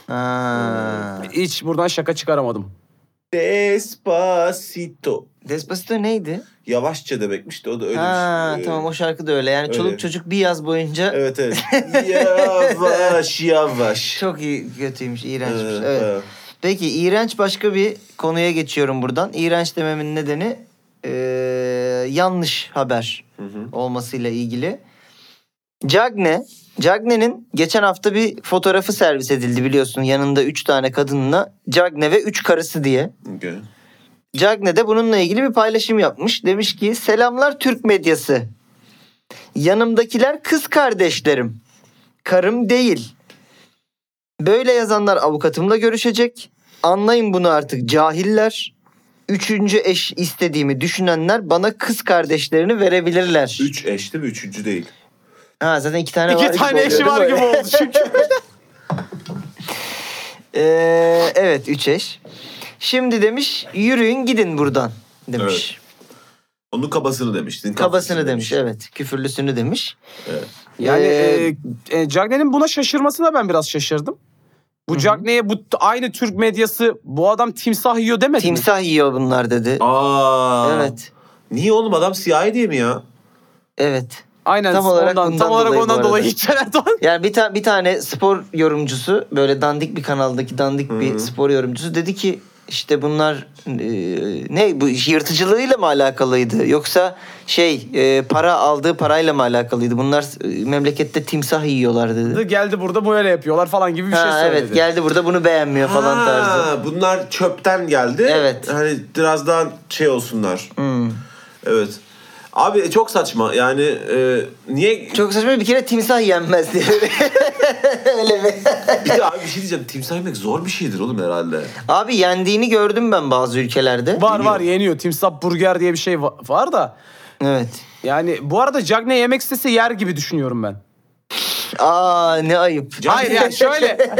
B: Ha.
C: hiç buradan şaka çıkaramadım.
D: Despacito.
B: Despacito neydi?
D: Yavaşça demekmiş de o da öyle
B: ha
D: bir şey. Ee,
B: tamam o şey- şarkı da öyle. Yani
D: öyle.
B: çoluk çocuk bir yaz boyunca (laughs)
D: Evet evet. yavaş yavaş.
B: çok iyi kötüymüş, iğrençmiş.
D: Ee,
B: evet.
D: evet.
B: Peki iğrenç başka bir konuya geçiyorum buradan. İğrenç dememin nedeni eee, yanlış haber olmasıyla ilgili. Cagne, Cagne'nin geçen hafta bir fotoğrafı servis edildi biliyorsun. Yanında üç tane kadınla Cagne ve üç karısı diye.
D: Okey.
B: Cagne de bununla ilgili bir paylaşım yapmış. Demiş ki selamlar Türk medyası. Yanımdakiler kız kardeşlerim. Karım değil. Böyle yazanlar avukatımla görüşecek. Anlayın bunu artık cahiller. Üçüncü eş istediğimi düşünenler bana kız kardeşlerini verebilirler.
D: Üç eş değil mi? Üçüncü değil.
B: Ha zaten iki tane var.
C: İki
B: gibi
C: tane
B: oluyor,
C: eşi
B: değil
C: var
B: mi? (laughs)
C: gibi oldu çünkü.
B: Ee, evet üç eş. Şimdi demiş yürüyün gidin buradan demiş.
D: Onun kabasını demiştin.
B: Kabasını demiş evet. Küfürlüsünü demiş.
D: Evet.
C: Yani
B: Ee,
C: e, e, Cagney'in buna şaşırmasına ben biraz şaşırdım. Bu Cagney'e bu t- aynı Türk medyası bu adam timsah yiyor demedi mi?
B: timsah yiyor bunlar dedi.
D: Aa.
B: Evet.
D: Niye oğlum adam siyahi diye mi ya?
B: Evet.
C: Aynen
B: Tam olarak
C: ondan,
B: bundan
C: tam olarak
B: dolayı bu
C: ondan
B: arada.
C: dolayı (laughs) hiç Erdoğan-
B: Yani bir, ta- bir tane spor yorumcusu böyle dandik bir kanaldaki dandik bir spor yorumcusu dedi ki işte bunlar e, ne bu iş yırtıcılığıyla mı alakalıydı yoksa şey e, para aldığı parayla mı alakalıydı bunlar e, memlekette timsah yiyorlar dedi.
C: geldi burada böyle yapıyorlar falan gibi bir şey
B: Ha,
C: söyledi.
B: evet geldi burada bunu beğenmiyor falan
D: Ha,
B: tarzı.
D: Bunlar çöpten geldi.
B: Evet. Hmm.
D: Hani biraz daha şey olsunlar. Evet. Abi çok saçma yani e, niye
B: Çok saçma bir kere timsah yenmez diye. (laughs) Öyle mi?
D: bir de abi bir şey diyeceğim timsah yemek zor bir şeydir oğlum herhalde.
B: Abi yendiğini gördüm ben bazı ülkelerde.
C: Var var yeniyor. Timsah burger diye bir şey va- var da.
B: Evet.
C: Yani bu arada Cagney yemek istese yer gibi düşünüyorum ben.
B: Aa ne ayıp.
C: Hayır yani (laughs) şöyle.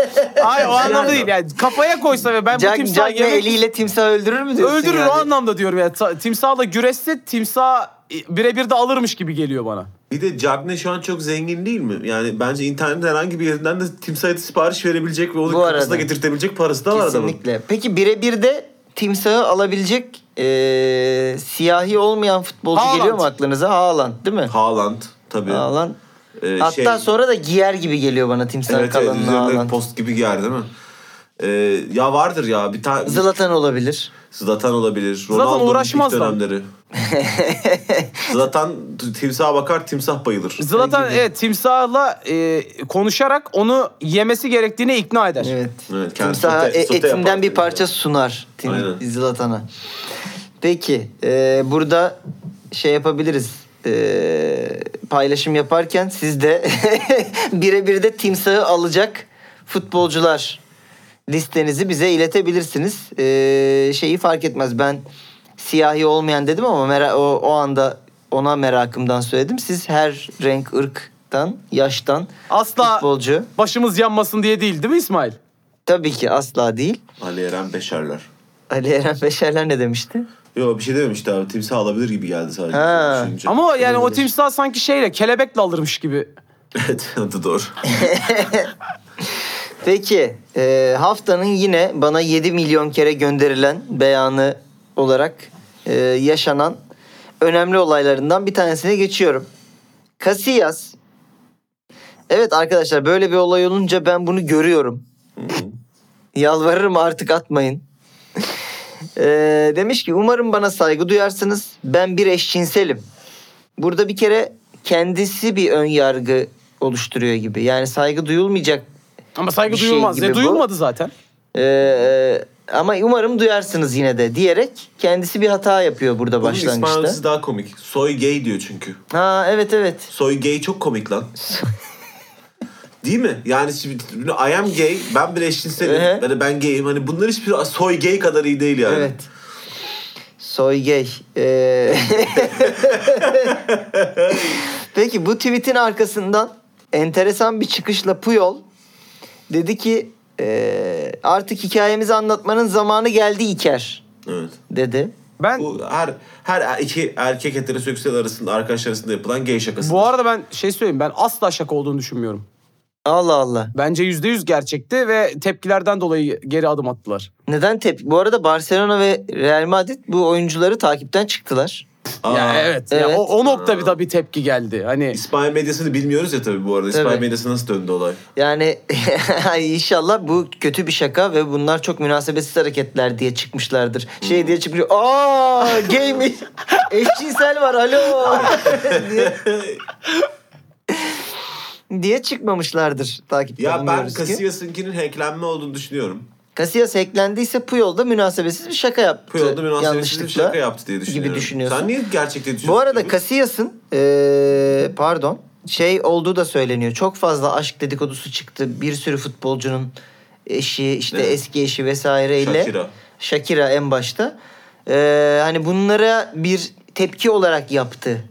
C: Hayır o anlamda değil. Yani kafaya koysa ve ben bu
B: Jack,
C: timsah
B: Jack ne
C: yemek
B: eliyle timsah öldürür mü diyorsun
C: öldürür
B: yani?
C: o anlamda diyorum ya. Ta- Timsahla güreşse timsah e, birebir de alırmış gibi geliyor bana.
D: Bir de Cagne şu an çok zengin değil mi? Yani bence internet herhangi bir yerinden de timsah eti sipariş verebilecek ve
B: Bu
D: onu
B: arada.
D: kapısına getirtebilecek parası da var adamın.
B: Kesinlikle. Peki birebir de timsahı alabilecek e, siyahi olmayan futbolcu
C: Haaland.
B: geliyor mu aklınıza? Haaland değil mi?
D: Haaland tabii.
B: Haaland.
D: Ee,
B: Hatta
D: şey-
B: sonra da giyer gibi geliyor bana timsah
D: Evet evet
B: kalanına
D: üzerinde
B: Haaland.
D: post gibi giyer değil mi? Ee, ya vardır ya bir tane
B: Zlatan olabilir.
D: Zlatan olabilir.
C: Zlatan
D: Ronaldo'nun ilk
C: uğraşmaz
B: (laughs)
C: lan.
D: dönemleri. Zlatan timsaha bakar timsah bayılır.
C: Zlatan
B: Belki de.
C: evet timsahla e, konuşarak onu yemesi gerektiğine ikna eder.
B: Evet.
D: Evet, kendi
B: Timsaha
D: sote-
B: e-
D: sote
B: etinden
D: yapar.
B: bir parça sunar tim-
D: Aynen.
B: Zlatan'a. Peki e, burada şey yapabiliriz. E, paylaşım yaparken siz de (laughs) birebir de timsahı alacak futbolcular listenizi bize iletebilirsiniz. E, şeyi fark etmez. Ben siyahi olmayan dedim ama mera- o, o anda ona merakımdan söyledim. Siz her renk, ırktan, yaştan
C: Asla
B: futbolcu.
C: başımız yanmasın diye değil değil mi İsmail?
B: Tabii ki asla değil.
D: Ali Eren Beşerler.
B: Ali Eren Beşerler ne demişti?
D: Yo bir şey dememişti abi timsah alabilir gibi geldi sadece.
B: Ha.
D: düşününce.
C: Ama yani o
B: Olabilir.
C: timsah sanki şeyle kelebekle alırmış gibi.
D: Evet (laughs) o da doğru.
B: Peki e, haftanın yine bana 7 milyon kere gönderilen beyanı olarak e, yaşanan önemli olaylarından bir tanesine geçiyorum. Casillas. Evet arkadaşlar böyle bir olay olunca ben bunu görüyorum. Yalvarırım artık atmayın. E, demiş ki umarım bana saygı duyarsınız. Ben bir eşcinselim. Burada bir kere kendisi bir ön yargı oluşturuyor gibi. Yani saygı duyulmayacak
C: Ama saygı
B: Bir şey
C: duyulmaz.
B: gibi
C: E,
B: bu.
C: duyulmadı zaten.
B: Ee, ama umarım duyarsınız yine de diyerek kendisi bir hata yapıyor burada
D: Bunun
B: başlangıçta.
D: İspanyolcası daha komik. Soy gay diyor çünkü.
B: Ha evet evet.
D: Soy gay çok komik (laughs) lan. Değil mi? Yani şimdi I am gay, ben bir eşcinselim.
B: Ehe.
D: Yani ben gayim. Hani bunlar hiçbir soy gay kadar iyi değil yani.
B: Evet. Soy gay. Ee, Peki bu tweetin arkasından enteresan bir çıkışla Puyol dedi ki "Ee, artık hikayemizi anlatmanın zamanı geldi İker
D: Evet.
B: dedi.
C: Ben bu,
D: Bu her her er-, iki erkek heteroseksüel arasında arkadaşlar arasında yapılan gay şakası.
C: arada ben şey söyleyeyim ben asla şaka olduğunu düşünmüyorum.
B: Allah Allah.
C: Bence yüzde yüz gerçekti ve tepkilerden dolayı geri adım attılar.
B: Neden tepki? Bu arada Barcelona ve Real Madrid bu oyuncuları takipten çıktılar.
D: Aa,
C: ya evet. ya
B: evet.
C: o, o nokta bir tabii tepki geldi. Hani
D: İspanya medyasını bilmiyoruz ya tabii bu arada. İspanya
B: Tabii.
D: medyası nasıl döndü olay?
B: Yani (laughs) inşallah bu kötü bir şaka ve bunlar çok münasebetsiz hareketler diye çıkmışlardır. Şey diye çıkmış. Aa gay
D: (laughs)
B: mi? Eşcinsel var alo. diye, diye çıkmamışlardır takipte.
D: Ya ben
B: umuyoruz ki.
D: Casillas'ınkinin hacklenme olduğunu düşünüyorum.
B: Casillas hacklendiyse Puyol da münasebetsiz bir şaka yaptı.
D: Puyol da münasebetsiz bir
B: yanlışlıkla
D: şaka yaptı diye düşünüyorum.
B: Gibi düşünüyorsun.
D: Sen niye gerçekten düşünüyorsun?
B: Bu arada
D: gibi?
B: Casillas'ın eee, pardon şey olduğu da söyleniyor. Çok fazla aşk dedikodusu çıktı. Bir sürü futbolcunun eşi işte
D: Evet.
B: eski eşi vesaireyle.
D: Shakira.
B: Shakira en başta. Eee, hani bunlara bir tepki olarak yaptı.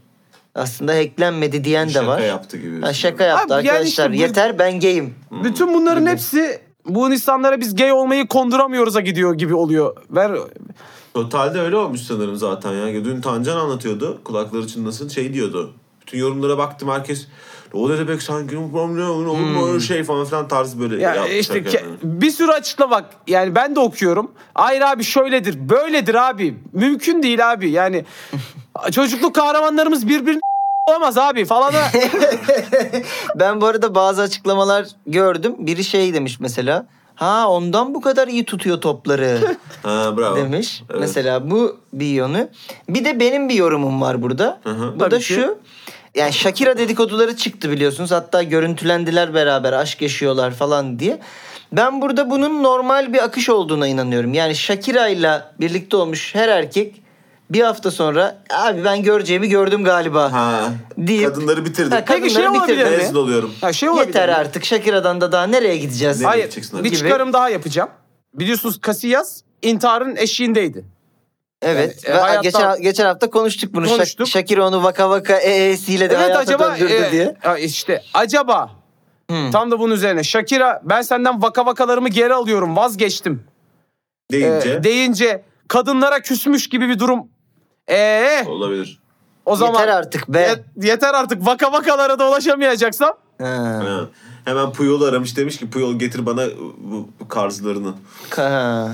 B: Aslında hacklenmedi diyen de
D: Şaka
B: var.
D: yaptı gibi
B: Ha, şaka
D: düşünüyorum.
B: yaptı
C: Abi yani
B: arkadaşlar.
C: işte bu-
B: Yeter ben gayim.
C: bütün bunların hepsi bu insanlara biz gay olmayı konduramıyoruz'a gidiyor gibi oluyor. Ver
D: Totalde öyle olmuş sanırım zaten ya. Dün Tancan anlatıyordu. Kulakları çınlasın şey diyordu. Bütün yorumlara baktım herkes. O da demek sanki bilmem ne olur mu öyle şey falan filan tarzı böyle
C: Hmm. Ya
D: yapmışlar
C: işte ke-
D: kendini.
C: bir sürü açıkla bak. Yani ben de okuyorum. Hayır abi şöyledir, böyledir abi. Mümkün değil abi. Yani çocukluk kahramanlarımız birbirini olamaz abi falan. da-
B: Ben bu arada bazı açıklamalar gördüm. Biri şey demiş mesela. Ha ondan bu kadar iyi tutuyor
C: (laughs)
B: topları.
D: Ha bravo.
B: demiş.
D: Evet.
B: Mesela bu bir yönü. Bir de benim bir yorumum var burada. Bu
C: Tabii
B: da
C: ki.
B: şu. Yani Shakira dedikoduları çıktı biliyorsunuz. Hatta görüntülendiler beraber aşk yaşıyorlar falan diye. Ben burada bunun normal bir akış olduğuna inanıyorum. Yani Shakira ile birlikte olmuş her erkek bir hafta sonra abi ben göreceğimi gördüm galiba.
D: Ha.
B: Deyip-
D: Kadınları bitirdim.
B: Ha, kadınları
C: Peki şey olabilir
B: bitirdi.
C: mi?
D: Mezun oluyorum.
C: Ya şey olabilir.
B: Yeter
C: mi?
B: artık Shakira'dan da daha nereye gideceğiz?
D: Nereye
C: Hayır.
D: gideceksin abi?
C: Bir
B: Gibi.
C: çıkarım daha yapacağım. Biliyorsunuz Casillas intiharın eşiğindeydi.
B: Evet.
C: Yani, e,
B: Ve
C: hayatta-
B: geçen, geçen hafta konuştuk bunu. Şak-
C: Konuştuk.
B: Shakira onu vaka vaka E, eesiyle de
C: Evet
B: hayata
C: acaba
B: döndürdü
C: e,
B: diye.
C: ya işte acaba
B: Hmm.
C: tam da bunun üzerine Shakira ben senden vaka vakalarımı geri alıyorum vazgeçtim
D: Deyince
C: e, deyince kadınlara küsmüş gibi bir durum. Eee
D: olabilir.
C: O zaman
B: Yeter artık be.
C: Ye- yeter artık vaka vakalara da ulaşamayacaksam.
B: Ha.
D: Ha. Hemen Puyol aramış demiş ki Puyol getir bana bu bu karzlarını.
B: Ha,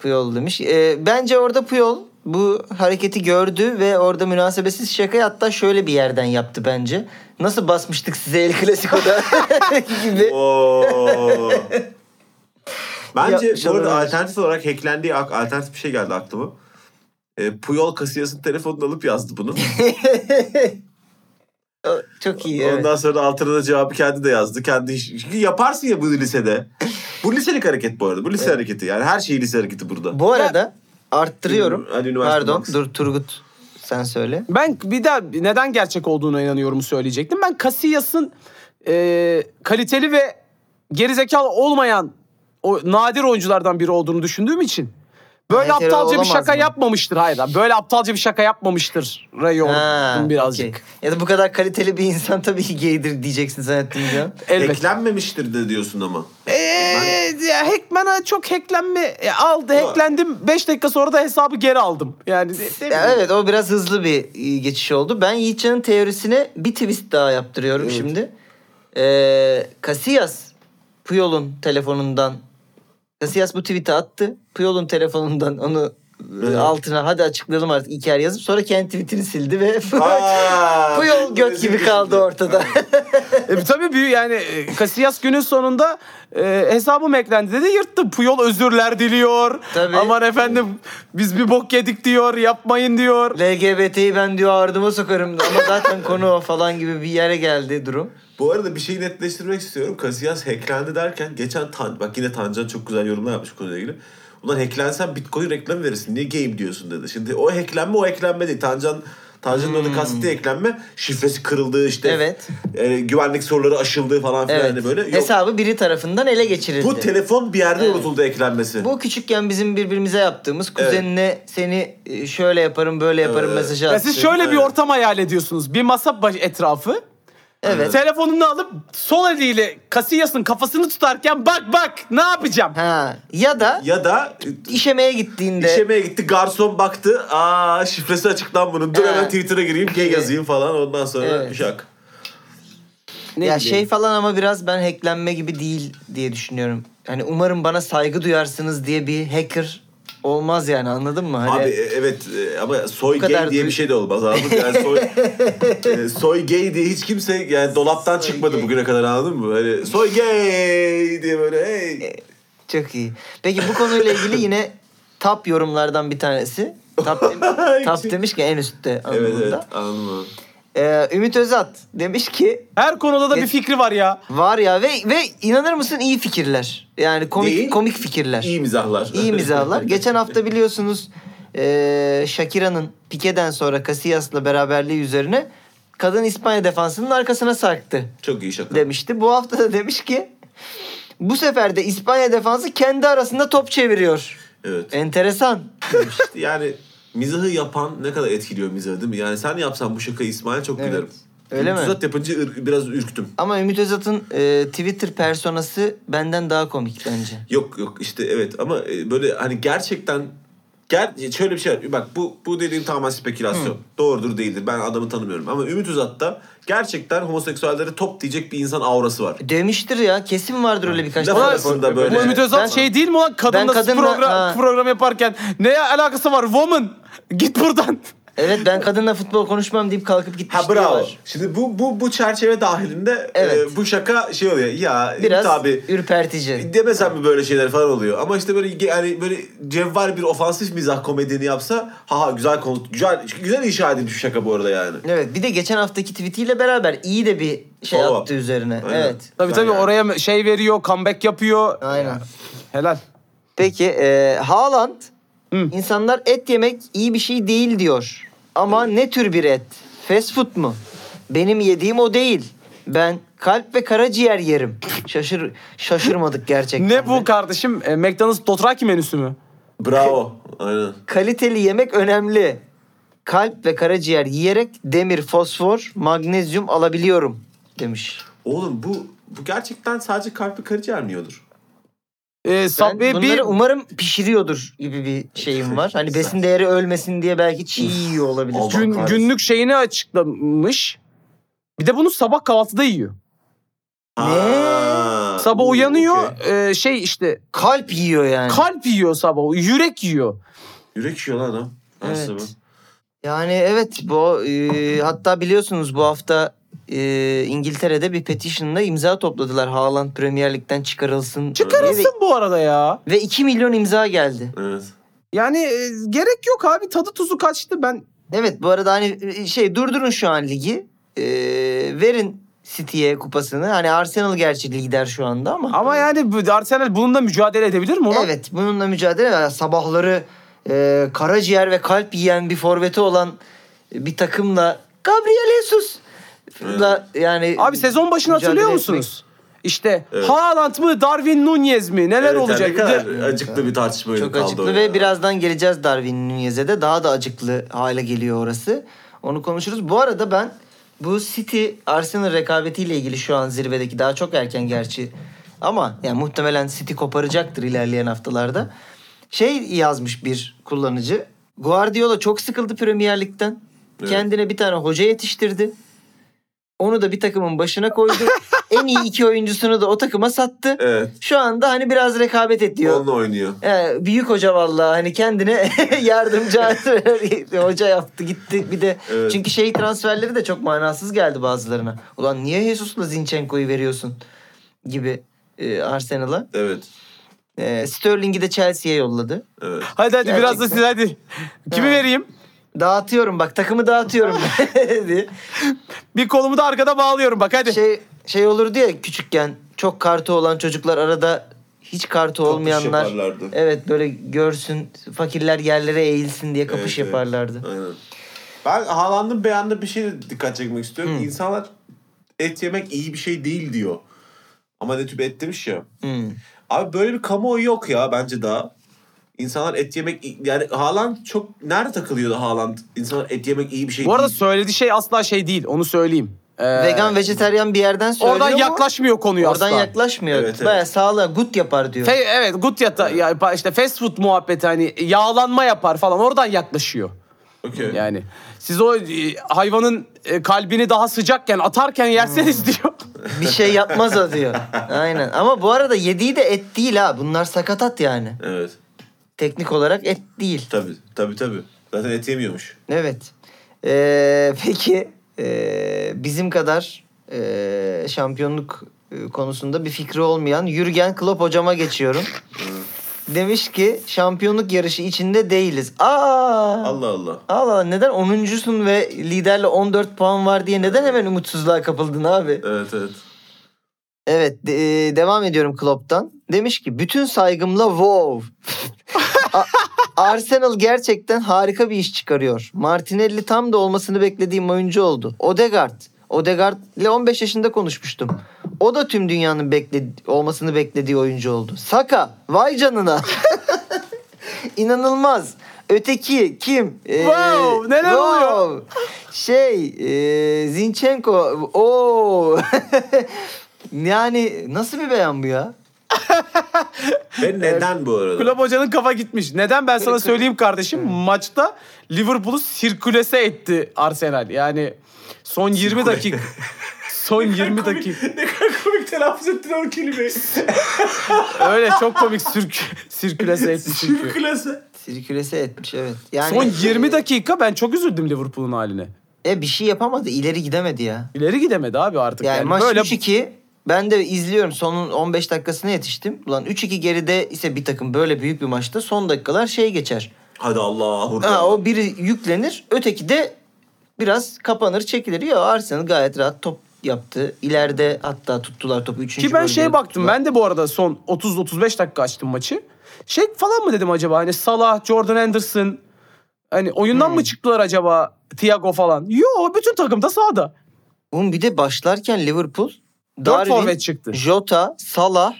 B: Puyol demiş. Ee, bence orada Puyol bu hareketi gördü ve orada münasebesiz şakayı hatta şöyle bir yerden yaptı bence. Nasıl basmıştık size El Clasico'da (laughs) gibi.
D: Oo. Bence
B: Yapmış
D: bu arada
B: olabilir.
D: alternatif olarak hacklendiği ak- alternatif bir şey geldi aklıma. E, Puyol Casillas'ın telefonunu alıp yazdı bunu.
B: O- Çok iyi. (laughs) evet.
D: Ondan sonra altına da cevabı kendi de yazdı. Kendi iş- Çünkü yaparsın ya bunu lisede. Bu liselik hareket bu arada. Bu lise hareketi. Yani her şey lise hareketi burada.
B: Bu arada arttırıyorum.
D: Hadi üniversite
B: Pardon
D: bak.
B: dur Turgut sen söyle.
C: Ben bir daha neden gerçek olduğuna inanıyorum söyleyecektim. Ben Casillas'ın e, kaliteli ve gerizekalı olmayan o nadir oyunculardan biri olduğunu düşündüğüm için böyle
B: Hetero
C: aptalca bir
B: olamaz
C: şaka
B: mı?
C: yapmamıştır. Hayır lan, böyle aptalca bir şaka yapmamıştır.
B: Ha,
C: Rayon'un birazcık.
B: okey. Ya da bu kadar kaliteli bir insan tabii ki gaydir diyeceksin zannettim
D: (laughs)
B: ya.
C: Elbette.
D: Hacklenmemiştir de diyorsun ama.
C: Eee E, ya Hackman'a çok hacklenme ya aldı. Hacklendim. 5 dakika sonra da hesabı geri aldım. Yani ne- ne bileyim.
B: Ya evet o biraz hızlı bir e, geçiş oldu. Ben Yiğitcan'ın teorisine bir twist daha yaptırıyorum şimdi. Ee, Casillas Puyol'un telefonundan Casillas bu tweet'i attı. Puyol'un telefonundan onu e,
D: Evet.
B: altına hadi açıklayalım artık İker yazıp sonra kendi tweet'ini sildi ve (laughs)
D: Aa,
B: Puyol göt gibi kaldı ortada.
C: E, tabii büyü yani e, Casillas günün sonunda e, hesabım eklendi dedi yırttı. Puyol özürler diliyor.
B: Tabii.
C: Aman efendim biz bir bok yedik diyor. Yapmayın diyor.
B: LGBT'yi ben diyor ardıma sokarım ama
D: (laughs)
B: zaten konu o falan gibi bir yere geldi durum.
D: Bu arada bir şeyi netleştirmek istiyorum. Casillas hacklendi derken geçen Tan bak yine Tancan çok güzel yorumlar yapmış konuyla ilgili. Ulan hacklensen Bitcoin reklamı verirsin. Niye game diyorsun dedi. Şimdi o hacklenme o hacklenme değil. Tancan Tancan'ın orada kastettiği hacklenme şifresi kırıldı işte.
B: Hmm. Evet.
D: E, güvenlik soruları aşıldı falan filan
B: Evet.
D: hani böyle. Yok.
B: Hesabı biri tarafından ele geçirildi.
D: bu telefon bir yerde
B: Evet.
D: unutuldu eklenmesi.
B: Bu küçükken bizim birbirimize yaptığımız kuzenine seni e, şöyle yaparım böyle yaparım
D: Evet.
B: mesajı
C: Ya
B: attı.
C: siz şöyle bir
D: Evet.
C: ortam hayal ediyorsunuz. Bir masa baş etrafı.
B: Evet.
C: Telefonunu alıp sol eliyle Casillas'ın kafasını tutarken bak bak ne yapacağım?
B: Ha. Ya da
D: Ya da
B: işemeye gittiğinde
D: işemeye gitti garson baktı. Aa şifresi açıklan bunun. Dur
B: Ha.
D: hemen Twitter'a gireyim gay yazayım falan. Ondan sonra
B: Evet.
D: şak.
C: Ne
B: ya
C: bileyim.
B: şey falan ama biraz ben hacklenme gibi değil diye düşünüyorum. Hani umarım bana saygı duyarsınız diye bir hacker olmaz yani anladın mı? Hani
D: Abi e, evet e, ama soy
B: Bu kadar
D: gay diye
B: duy-
D: bir şey de olmaz anladın mı?
B: (laughs)
D: Yani soy, e, soy gay diye hiç kimse yani dolaptan
B: Soy
D: çıkmadı
B: gay.
D: bugüne kadar anladın mı? Böyle soy gay diye böyle
B: E,
D: hey.
B: çok iyi. Peki bu konuyla ilgili yine top yorumlardan bir tanesi. Top,
D: (laughs)
B: dem- top demiş ki en üstte
D: Evet
B: anlamında.
D: evet anladın mı?
B: Ee, Ümit Özat demiş ki
C: Her konuda da bir fikri var ya.
B: Var ya ve ve inanır mısın iyi fikirler. Yani komik
D: Değil.
B: komik fikirler.
D: İyi mizahlar.
B: İyi
D: (laughs)
B: mizahlar. Geçen hafta biliyorsunuz eee Shakira'nın Pike'den sonra Casillas'la beraberliği üzerine kadın İspanya defansının arkasına sarktı
D: Çok iyi şaka.
B: demişti. Bu hafta da demiş ki bu sefer de İspanya defansı kendi arasında top çeviriyor.
D: Evet.
B: Enteresan. demiş.
D: Yani mizahı yapan ne kadar etkiliyor mizahı değil mi? Yani sen yapsan bu şakayı İsmail çok
B: Evet.
D: gülerim.
B: Öyle mi?
D: Tuzat yapınca ır- biraz ürktüm.
B: Ama Ümit Özat'ın eee, Twitter personası benden daha komik bence.
D: Yok yok işte evet ama e, böyle hani gerçekten ger şöyle bir şey var. Bak bu bu dediğim tamamen spekülasyon. Doğrudur değildir. Ben adamı tanımıyorum ama Ümit Uzat'ta gerçekten homoseksüellere top diyecek bir insan aurası var.
B: Demiştir ya kesin vardır öyle birkaç
D: Laf
B: tane
D: arasında
B: form-
D: böyle.
C: Bu Ümit Özal
B: Ben-
C: şey değil mi lan?
B: Ben
C: Kadınla,
B: kadınla-
C: program,
B: ha.
C: program yaparken ne alakası var? Woman git buradan.
B: Evet ben kadınla futbol konuşmam deyip kalkıp gitmiş
D: Ha bravo.
B: diyorlar.
D: Şimdi bu bu bu çerçeve dahilinde
B: Şey Evet.
D: e, bu şaka şey oluyor. Ya Ümit
B: Biraz
D: abi
B: ürpertici.
D: demesen mi böyle şeyler falan oluyor. Ama işte böyle ge- hani böyle cevval bir ofansif mizah komedini yapsa ha güzel konu güzel güzel inşa edilmiş bir şaka bu arada yani.
B: Evet bir de geçen haftaki tweetiyle beraber iyi de bir şey
D: Follow up.
B: attı üzerine.
D: Aynen.
B: Evet.
C: Tabii
D: Güzel
C: tabii
D: yani.
C: oraya şey veriyor, comeback yapıyor.
B: Aynen.
C: Helal.
B: Peki e, Haaland
C: Hı.
B: insanlar et yemek iyi bir şey değil diyor. Ama ne tür bir et? Fast food mu? Benim yediğim o değil. Ben kalp ve karaciğer yerim. Şaşır şaşırmadık gerçekten.
C: Ne bu
B: de.
C: kardeşim? E, McDonald's Dothraki menüsü mü?
B: Şey
D: Bravo. Aynen.
B: Kaliteli yemek önemli. Kalp ve karaciğer yiyerek demir, fosfor, magnezyum alabiliyorum demiş.
D: Oğlum bu bu gerçekten sadece kalp ve karaciğer mi yiyordur?
C: e,
B: Ben
C: Subway
B: bunları
C: bir
B: umarım pişiriyordur gibi bir şeyim var. Hani besin değeri ölmesin diye belki çiğ yiyor olabilir.
D: Allah
C: gün-
D: kahretsin.
C: günlük şeyini açıklamış. Bir de bunu sabah kahvaltıda yiyor.
D: Ha.
C: Sabah
D: Oo,
C: uyanıyor
D: okey.
C: e, şey işte
B: Kalp yiyor yani.
C: kalp yiyor sabah yürek yiyor.
D: Yürek yiyor lan adam.
B: Evet.
D: Nasıl bu?
B: Yani evet bu e, hatta biliyorsunuz bu hafta e, İngiltere'de bir petition'da imza topladılar. Haaland Premier Lig'den çıkarılsın.
C: Çıkarılsın
B: diye
C: bu arada ya.
B: Ve, ve 2 milyon imza geldi.
D: Evet.
C: Yani e, gerek yok abi tadı tuzu kaçtı ben.
B: Evet bu arada hani e, şey durdurun şu an ligi. E, verin City'ye kupasını. Hani Arsenal gerçi lider şu anda ama.
C: Ama yani bu- Arsenal bununla mücadele edebilir mi? Ona?
B: Evet bununla mücadele yani sabahları e, karaciğer ve kalp yiyen bir forveti olan bir takımla Gabriel Jesus da yani
C: Abi sezon başını
B: mücadele
C: hatırlıyor
B: etmek-
C: musunuz? İşte
D: Evet.
C: Haaland mı Darwin Nunez mi neler
D: Evet,
C: olacak?
D: yani Ne kadar
C: Bir de-
D: acıklı bir tartışma öyle
B: Çok
D: kaldı
B: acıklı
D: orada
B: ve
D: ya.
B: birazdan geleceğiz Darwin Nunez'e de. Daha da acıklı hale geliyor orası. Onu konuşuruz. Bu arada ben bu City Arsenal rekabetiyle ilgili şu an zirvedeki daha çok erken gerçi. Ama yani muhtemelen City koparacaktır ilerleyen haftalarda. Şey yazmış bir kullanıcı. Guardiola çok sıkıldı Premier Lig'den.
D: Evet.
B: Kendine bir tane hoca yetiştirdi. Onu da bir takımın başına koydu.
D: (laughs)
B: en iyi iki oyuncusunu da o takıma sattı.
D: Evet.
B: Şu anda hani biraz rekabet ediyor.
D: Onunla oynuyor.
B: Ee, büyük hoca vallahi hani kendine (laughs)
D: (laughs)
B: yardımcı hoca yaptı gitti bir de
D: Evet.
B: çünkü şey transferleri de çok manasız geldi bazılarına. Ulan niye Jesus'la Zinchenko'yu veriyorsun gibi e, Arsenal'a.
D: Evet.
B: E, Sterling'i de Chelsea'ye yolladı.
D: Evet.
C: Hadi hadi biraz
B: Gerçekten.
C: da siz hadi. Kimi
B: Ha.
C: vereyim?
B: Dağıtıyorum bak takımı
D: (laughs)
B: dağıtıyorum (laughs) diye.
C: Bir kolumu da arkada bağlıyorum bak hadi.
B: şey şey olurdu ya küçükken çok kartı olan çocuklar arada hiç kartı olmayanlar
D: yaparlardı.
B: evet böyle görsün fakirler yerlere eğilsin diye kapış
D: Evet, evet.
B: yaparlardı.
D: Aynen. Ben Haaland'ın beyanında bir şeye dikkat çekmek istiyorum. İnsanlar et yemek iyi bir şey değil diyor. Ama ne tüp et demiş ya.
B: Hmm.
D: Abi böyle bir kamuoyu yok ya bence daha. İnsanlar et yemek yani Haaland çok nerede takılıyordu Haaland? İnsanlar et yemek iyi bir şey
C: Bu arada
D: değil.
C: söylediği şey asla şey değil onu söyleyeyim. Ee,
B: Vegan, vejeteryan bir yerden söylüyor
C: Oradan
B: ama
C: yaklaşmıyor konuya
B: Oradan
C: asla.
B: yaklaşmıyor.
D: Evet, evet.
B: Bayağı sağlığa gut yapar diyor.
C: Fe- evet gut yata ya işte fast food muhabbeti hani yağlanma yapar falan oradan yaklaşıyor.
D: Okey.
C: Yani siz o e, hayvanın e, kalbini daha sıcakken atarken
D: Hmm.
C: yerseniz diyor.
B: bir şey yapmaz o
D: (laughs)
B: diyor. Aynen. Ama bu arada yediği de et değil ha. Bunlar sakatat yani.
D: Evet.
B: Teknik olarak et değil.
D: Tabii tabii tabii. Zaten et yemiyormuş.
B: Evet. Ee, peki ee, bizim kadar ee, şampiyonluk e, konusunda bir fikri olmayan Jürgen Klopp hocama
D: (laughs)
B: geçiyorum. Demiş ki şampiyonluk yarışı içinde değiliz. Aa!
D: Allah Allah.
B: Allah Allah neden 10.sun ve liderle 14 puan var diye neden hemen umutsuzluğa kapıldın abi?
D: Evet evet.
B: Evet de- e, devam ediyorum Klopp'tan. Demiş ki bütün saygımla wow. (laughs) A- Arsenal gerçekten harika bir iş çıkarıyor. Martinelli tam da olmasını beklediğim oyuncu oldu. Odegaard. Odegaard ile 15 yaşında konuşmuştum. O da tüm dünyanın bekle olmasını beklediği oyuncu oldu. Saka. Vay canına. (laughs) İnanılmaz. Öteki kim? Ee,
C: Wow, neler oluyor?
B: Şey, e, Zinchenko. Oo. (laughs) yani nasıl bir beyan bu ya?
D: Ve neden bu arada?
C: Klopp hocanın kafa gitmiş. Neden ben sana söyleyeyim kardeşim? Maçta Liverpool'u sirkülese etti Arsenal. Yani son 20 dakika. Son 20 dakika.
D: ne kadar komik telaffuz ettin o kelimeyi.
C: Öyle çok komik sirk sirkülese etti çünkü.
D: Klasa.
B: Sirkülese etmiş evet. Yani
C: Son 20 dakika ben çok üzüldüm Liverpool'un haline.
B: E bir şey yapamadı. ileri gidemedi ya.
C: İleri gidemedi abi artık.
B: Yani,
C: Yani,
B: maç
C: böyle
B: 3-2. Ben de izliyorum. Sonun 15 dakikasına yetiştim. Ulan 3-2 geride ise bir takım böyle büyük bir maçta son dakikalar şey geçer.
D: Hadi Allah'a
B: Ha, o biri yüklenir. Öteki de biraz kapanır çekilir. Yo Arsenal gayet rahat top yaptı. İleride hatta tuttular topu. Üçüncü
C: Ki ben
B: bölgede
C: şeye baktım.
B: tuttular.
C: Ben de bu arada son 30-35 dakika açtım maçı. Şey falan mı dedim acaba? Hani Salah, Jordan Anderson hani oyundan
B: Hmm.
C: mı çıktılar acaba? Thiago falan. Yo bütün takım da sahada.
B: Oğlum bir de başlarken Liverpool
C: Dört
B: Darwin,
C: forvet çıktı.
B: Jota, Salah,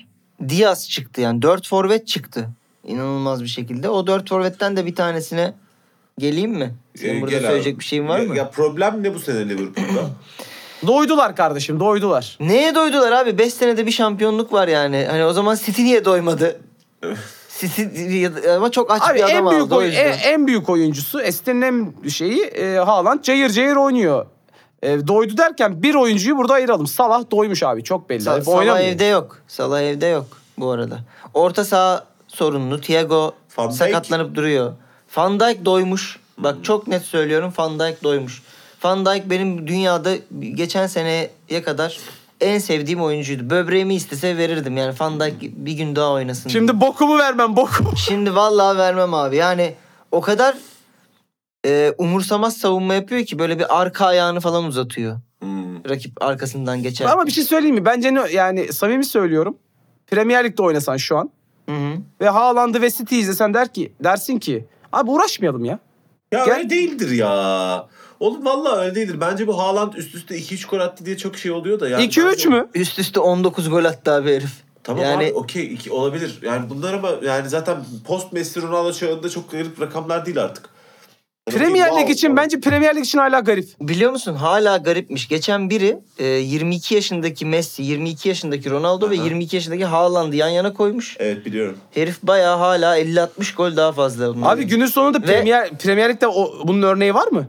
B: Diaz çıktı. Yani dört forvet çıktı. İnanılmaz bir şekilde. O dört forvetten de bir tanesine geleyim mi? Senin burada söyleyecek bir şeyin var
D: Ee, ya,
B: mı?
D: Ya problem ne bu
B: (clears throat)
D: sene Liverpool'da?
C: Doydular kardeşim doydular.
B: Neye doydular abi? Beş senede bir şampiyonluk var yani. Hani o zaman City niye doymadı? Sisi ama çok açık
C: Abi
B: bir adam
C: en büyük e,
B: aldı o
C: oy-
B: yüzden.
C: en, en büyük oyuncusu Esin'in en şeyi e, Haaland cayır cayır oynuyor. E, doydu derken bir oyuncuyu burada ayıralım. Salah doymuş abi çok belli.
B: Sa-
C: Hep
B: Salah
C: oynamıyor.
B: evde yok. Salah evde yok bu arada. Orta saha sorunlu. Thiago
D: Van Dijk. Hmm.
B: sakatlanıp duruyor. Van Dijk doymuş. Bak çok net söylüyorum Van Dijk doymuş. Van Dijk benim dünyada geçen seneye kadar en sevdiğim oyuncuydu. Böbreğimi istese verirdim. Yani Van Dijk bir gün daha oynasın. diye.
C: Şimdi bokumu
B: (laughs)
C: vermem bokumu.
B: Şimdi vallahi vermem abi. Yani o kadar e, umursamaz savunma yapıyor ki böyle bir arka ayağını falan uzatıyor.
D: Hmm.
B: Rakip arkasından geçer.
C: Ama bir şey söyleyeyim mi? Bence ne- yani samimi söylüyorum. Premier Lig'de oynasan şu an
B: Hı hı.
C: ve Haaland'ı ve City'yi izlesen der ki, dersin ki abi uğraşmayalım ya.
D: Ya
C: Gel-
D: öyle değildir ya. Oğlum vallahi öyle değildir. Bence bu Haaland üst üste 2-3 gol attı diye çok şey oluyor da. Yani
C: 2-3
D: bence-
C: mü?
B: Üst üste 19 gol attı abi herif.
D: Tamam
B: yani
D: abi okey iki- olabilir. Yani bunlar ama yani zaten post Messi Ronaldo çağında çok garip rakamlar değil artık. Yani
C: Premier Lig
D: wow
C: için
D: falan.
C: bence Premier Lig için hala garip.
B: biliyor musun hala garipmiş. Geçen biri e, 22 yaşındaki Messi, 22 yaşındaki Ronaldo ve
D: Aha.
B: 22 yaşındaki Haaland'ı yan yana koymuş.
D: Evet biliyorum.
B: Herif bayağı hala 50-60 gol daha fazla. bunların.
C: Abi günün sonunda
B: Ve-
C: Premier, Premier Lig'de o, bunun örneği var mı?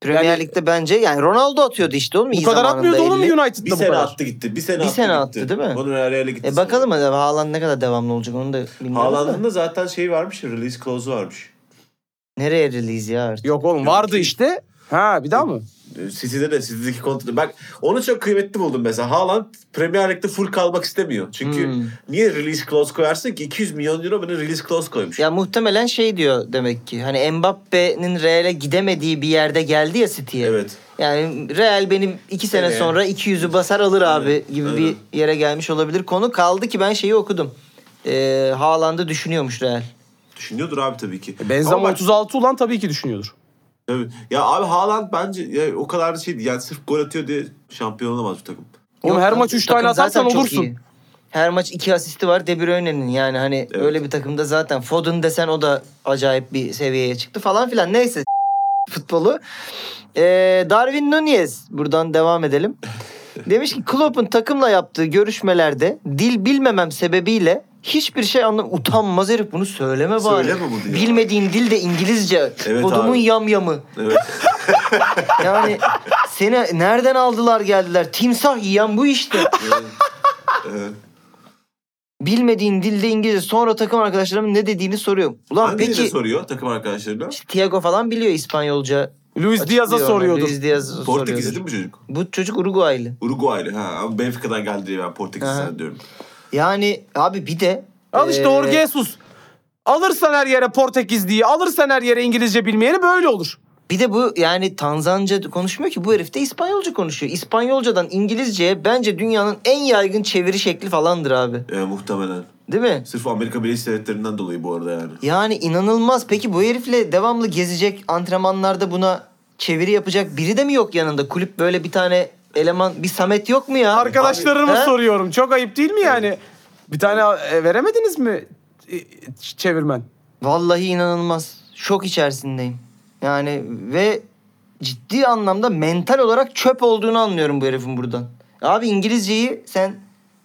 B: Premier
C: yani-
B: Lig'de bence yani Ronaldo atıyordu işte oğlum.
C: Bu
B: iyi
C: kadar
B: zamanında
C: atmıyordu oğlum
B: 50.
C: United'da
D: Bir
C: bu
D: sene
C: kadar.
D: attı gitti. Bir sene
B: Bir
D: attı
B: sene
D: gitti.
B: attı, değil mi?
D: Onun Real'e gitti.
B: E bakalım hadi Haaland ne kadar devamlı olacak onu da bilmiyorum.
D: Haaland'ın
B: da.
D: da zaten şey varmış ya release clause'u varmış.
B: Nereye release ya artık?
C: Yok oğlum vardı işte. Ha bir daha mı?
D: City'de de City'deki kontratı. Bak onu çok kıymetli buldum mesela. Haaland Premier Lig'de full kalmak istemiyor. Çünkü
B: Hmm.
D: niye release clause koyarsın ki? 200 milyon euro bana release clause koymuş.
B: Ya muhtemelen şey diyor demek ki. Hani Mbappe'nin Real'e gidemediği bir yerde geldi ya City'ye.
D: Evet.
B: Yani Real benim iki sene
D: Seneye.
B: sonra 200'ü basar alır abi
D: Aynen,
B: gibi
D: aynen.
B: bir yere gelmiş olabilir. Konu kaldı ki ben şeyi okudum. Ee, Haaland'ı düşünüyormuş Real.
D: Düşünüyordur abi tabii
B: E,
D: ki. Ama
C: Benzema
D: bak-
C: 36 ulan tabii ki düşünüyordur.
D: Tabii. Ya abi Haaland bence ya o kadar şey değil. Yani sırf gol atıyor diye şampiyon olamaz bu takım.
C: Oğlum
B: Yok
C: her
B: lan,
C: maç 3
B: takım
C: tane
B: zaten
C: atarsan
B: çok
C: olursun.
B: iyi. Her maç iki asisti var De Bruyne'nin yani hani
D: Evet.
B: öyle bir takımda zaten Foden desen o da acayip bir seviyeye çıktı falan filan. Neyse (laughs) futbolu. Ee, Darwin Nunez buradan devam
C: (laughs)
B: edelim. Demiş ki Klopp'un takımla yaptığı görüşmelerde dil bilmemem sebebiyle hiçbir şey anlam utanmaz herif bunu söyleme bari.
D: Söyleme bunu ya.
B: Bilmediğin dil de İngilizce.
D: Evet
B: Kodumun
D: abi.
B: yamyamı.
D: Evet.
B: (laughs) Yani seni nereden aldılar geldiler? Timsah yiyen bu işte.
D: evet.
B: bilmediğin dilde İngilizce sonra takım arkadaşlarımın ne dediğini soruyorum. Ulan
D: Hangi
B: peki şey
D: yere soruyor takım arkadaşlarına?
B: işte Thiago falan biliyor İspanyolca.
C: Luis Diaz'a
B: Açıklıyor ona,
C: soruyordur.
B: Luis Diaz'a
D: Portekizli
B: soruyordur.
D: mi bu çocuk?
B: Bu çocuk Uruguaylı.
D: Uruguaylı ha. Ama Benfica'dan geldi diye ben Portekizli
B: Aha.
D: zannediyorum.
B: Yani abi bir de
C: Al işte
B: eee,
C: Jorge Jesus. Alırsan her yere Portekizli'yi, alırsan her yere İngilizce bilmeyeni böyle olur.
B: Bir de bu yani Tanzanca konuşmuyor ki bu herif de İspanyolca konuşuyor. İspanyolcadan İngilizceye bence dünyanın en yaygın çeviri şekli falandır abi.
D: Ee, muhtemelen.
B: Değil mi?
D: Sırf Amerika Birleşik Devletleri'nden dolayı bu arada yani.
B: Yani inanılmaz. Peki bu herifle devamlı gezecek antrenmanlarda buna çeviri yapacak biri de mi yok yanında? Kulüp böyle bir tane eleman bir Samet yok mu ya?
C: Arkadaşlarımı
B: He?
C: soruyorum. Çok ayıp değil mi yani? Bir tane e, veremediniz mi e, ç- çevirmen?
B: Vallahi inanılmaz. Şok içerisindeyim. Yani ve ciddi anlamda mental olarak çöp olduğunu anlıyorum bu herifin buradan. Abi İngilizceyi sen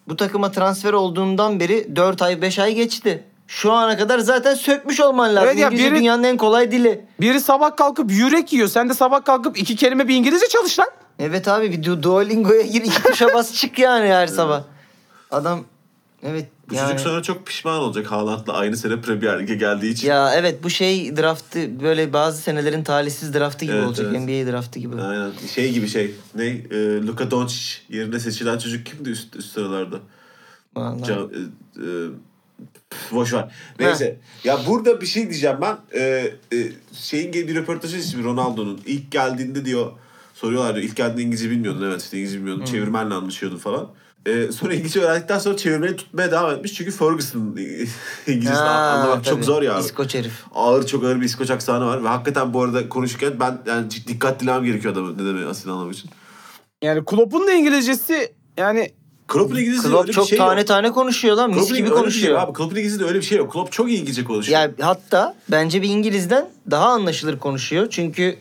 B: bu takıma transfer olduğundan beri 4 ay 5 ay geçti. Şu ana kadar zaten sökmüş olman lazım.
C: Evet ya,
B: İngilizce
C: biri-
B: dünyanın en kolay dili.
C: Biri sabah kalkıp yürek yiyor. Sen de sabah kalkıp iki kelime bir İngilizce çalış lan.
B: Evet abi bir Du- Duolingo'ya gir iki tuşa
D: (laughs)
B: bas çık yani her sabah. Adam evet
D: Bu
B: yani.
D: çocuk sonra çok pişman olacak Haaland'la aynı sene Premier Lig'e geldiği için.
B: Ya evet bu şey draftı böyle bazı senelerin talihsiz draftı gibi
D: Evet,
B: olacak.
D: evet.
B: NBA draftı gibi.
D: Aynen. Şey gibi şey. Ne? Ee, Luka Doncic yerine seçilen çocuk kimdi üst, üst sıralarda?
B: Vallahi.
D: Can, e, e, boş ver. Neyse. Ya burada bir şey diyeceğim ben. E, e, şeyin gibi bir röportajı şimdi Ronaldo'nun ilk geldiğinde diyor soruyorlar diyor ilk geldiğinde İngilizce bilmiyordun evet işte İngilizce
B: Hmm.
D: bilmiyordun çevirmenle anlaşıyordun falan. E, sonra İngilizce öğrendikten sonra çevirmeni tutmaya devam etmiş çünkü Ferguson'ın (laughs) İngilizce
B: Ha,
D: anlamak çok
B: tabii.
D: zor ya.
B: İskoç herif.
D: Ağır çok ağır bir İskoç aksanı var ve hakikaten bu arada konuşurken ben yani ciddi dikkat dilemem gerekiyor adamı ne demek asil anlamak için.
C: Yani Klopp'un da İngilizcesi yani
D: Klopp'un İngilizce
B: Klopp çok
D: şey yok.
B: tane tane konuşuyor lan. Mis
D: Klopp'un
B: gibi
D: öyle bir şey yok
B: konuşuyor.
D: abi. Klopp'un İngilizce'de öyle bir şey yok. Klopp çok iyi İngilizce konuşuyor.
B: Ya hatta bence bir İngiliz'den daha anlaşılır konuşuyor. Çünkü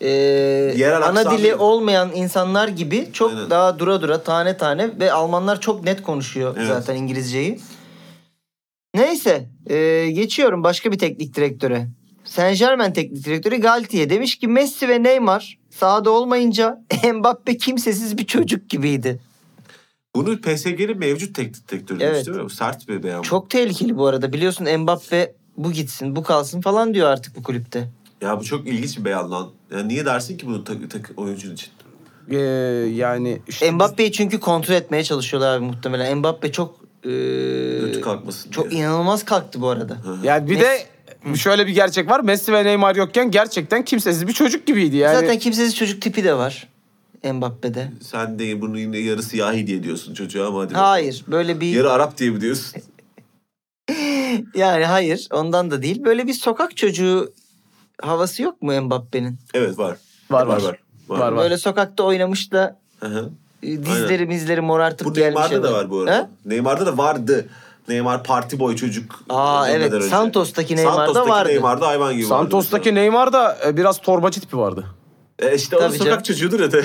B: e,
D: Yerel
B: ana
D: aksan
B: dili
D: değil.
B: olmayan insanlar gibi çok
D: Aynen.
B: daha dura dura tane tane ve Almanlar çok net konuşuyor
D: Evet.
B: zaten İngilizceyi. Neyse e, geçiyorum başka bir teknik direktöre. Saint Germain teknik direktörü Galtier demiş ki Messi ve Neymar sahada olmayınca (laughs) Mbappe kimsesiz bir çocuk gibiydi.
D: Bunu PSG'nin mevcut teknik direktörü demiş
B: Evet.
D: değil mi? Bu Sert bir beyan. bu.
B: Çok tehlikeli bu arada biliyorsun Mbappe bu gitsin bu kalsın falan diyor artık bu kulüpte.
D: Ya bu çok ilginç bir beyan lan. Ya niye dersin ki bunu tak, tak oyuncun için?
C: Ee, yani işte
B: Mbappe'yi çünkü kontrol etmeye çalışıyorlar abi muhtemelen. Mbappe çok e,
D: Kötü kalkmasın
B: çok
D: diye.
B: inanılmaz kalktı bu arada.
C: yani bir de şöyle bir gerçek var. Messi ve Neymar yokken gerçekten kimsesiz bir çocuk gibiydi yani.
B: Zaten kimsesiz çocuk tipi de var Mbappe'de.
D: Sen de bunu yine yarı siyahi diye diyorsun çocuğa ama hadi. bakalım.
B: Hayır böyle bir
D: Yarı Arap diye mi diyorsun?
B: yani hayır ondan da değil. Böyle bir sokak çocuğu havası yok mu Mbappe'nin?
D: Evet var.
C: Var, var. Var, var.
B: Böyle sokakta oynamış da
D: Hı hı.
B: e, dizleri mizleri morartıp
D: Bu
B: gelmiş.
D: Neymar'da da
B: adam.
D: var bu arada.
B: şey He?
D: Neymar'da da vardı. Neymar parti boy çocuk.
B: Aa,
D: dönmeden
B: evet. Santos'taki Neymar'da
D: Santos'taki
B: vardı.
D: Neymar'da hayvan gibi
C: Santos'taki
D: vardı.
C: Neymar da e, biraz torbacı tipi vardı.
D: E işte o
B: Tabii
D: sokak
B: canım. (laughs)
D: çocuğudur ya. tabii.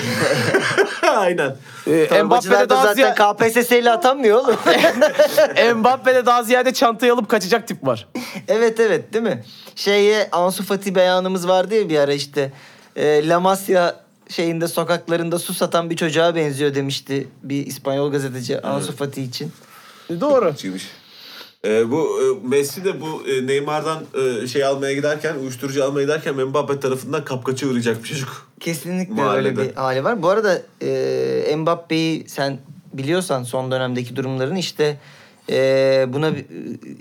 D: (laughs) Aynen.
C: Ee, Mbappe'de
B: Torbacılar da
C: daha,
B: zaten
C: ziyade,
B: KPSS ile atanmıyor
C: (laughs)
B: oğlum.
C: Mbappe'de daha ziyade çantayı alıp kaçacak tip var.
B: evet evet değil mi? Şeye Ansu Fati beyanımız vardı ya bir ara işte. E, La Masia şeyinde sokaklarında su satan bir çocuğa benziyor demişti bir İspanyol gazeteci Ansu Fati için.
C: E, Doğru.
D: Çiğmiş. E, bu e, Messi de bu e, Neymar'dan e, şey almaya giderken, uyuşturucu almaya giderken Mbappe tarafından kapkaça uğrayacak bir çocuk.
B: Kesinlikle
D: Mahallede.
B: öyle bir hali var. Bu arada e, Mbappe'yi sen biliyorsan son dönemdeki durumların işte e, buna bir-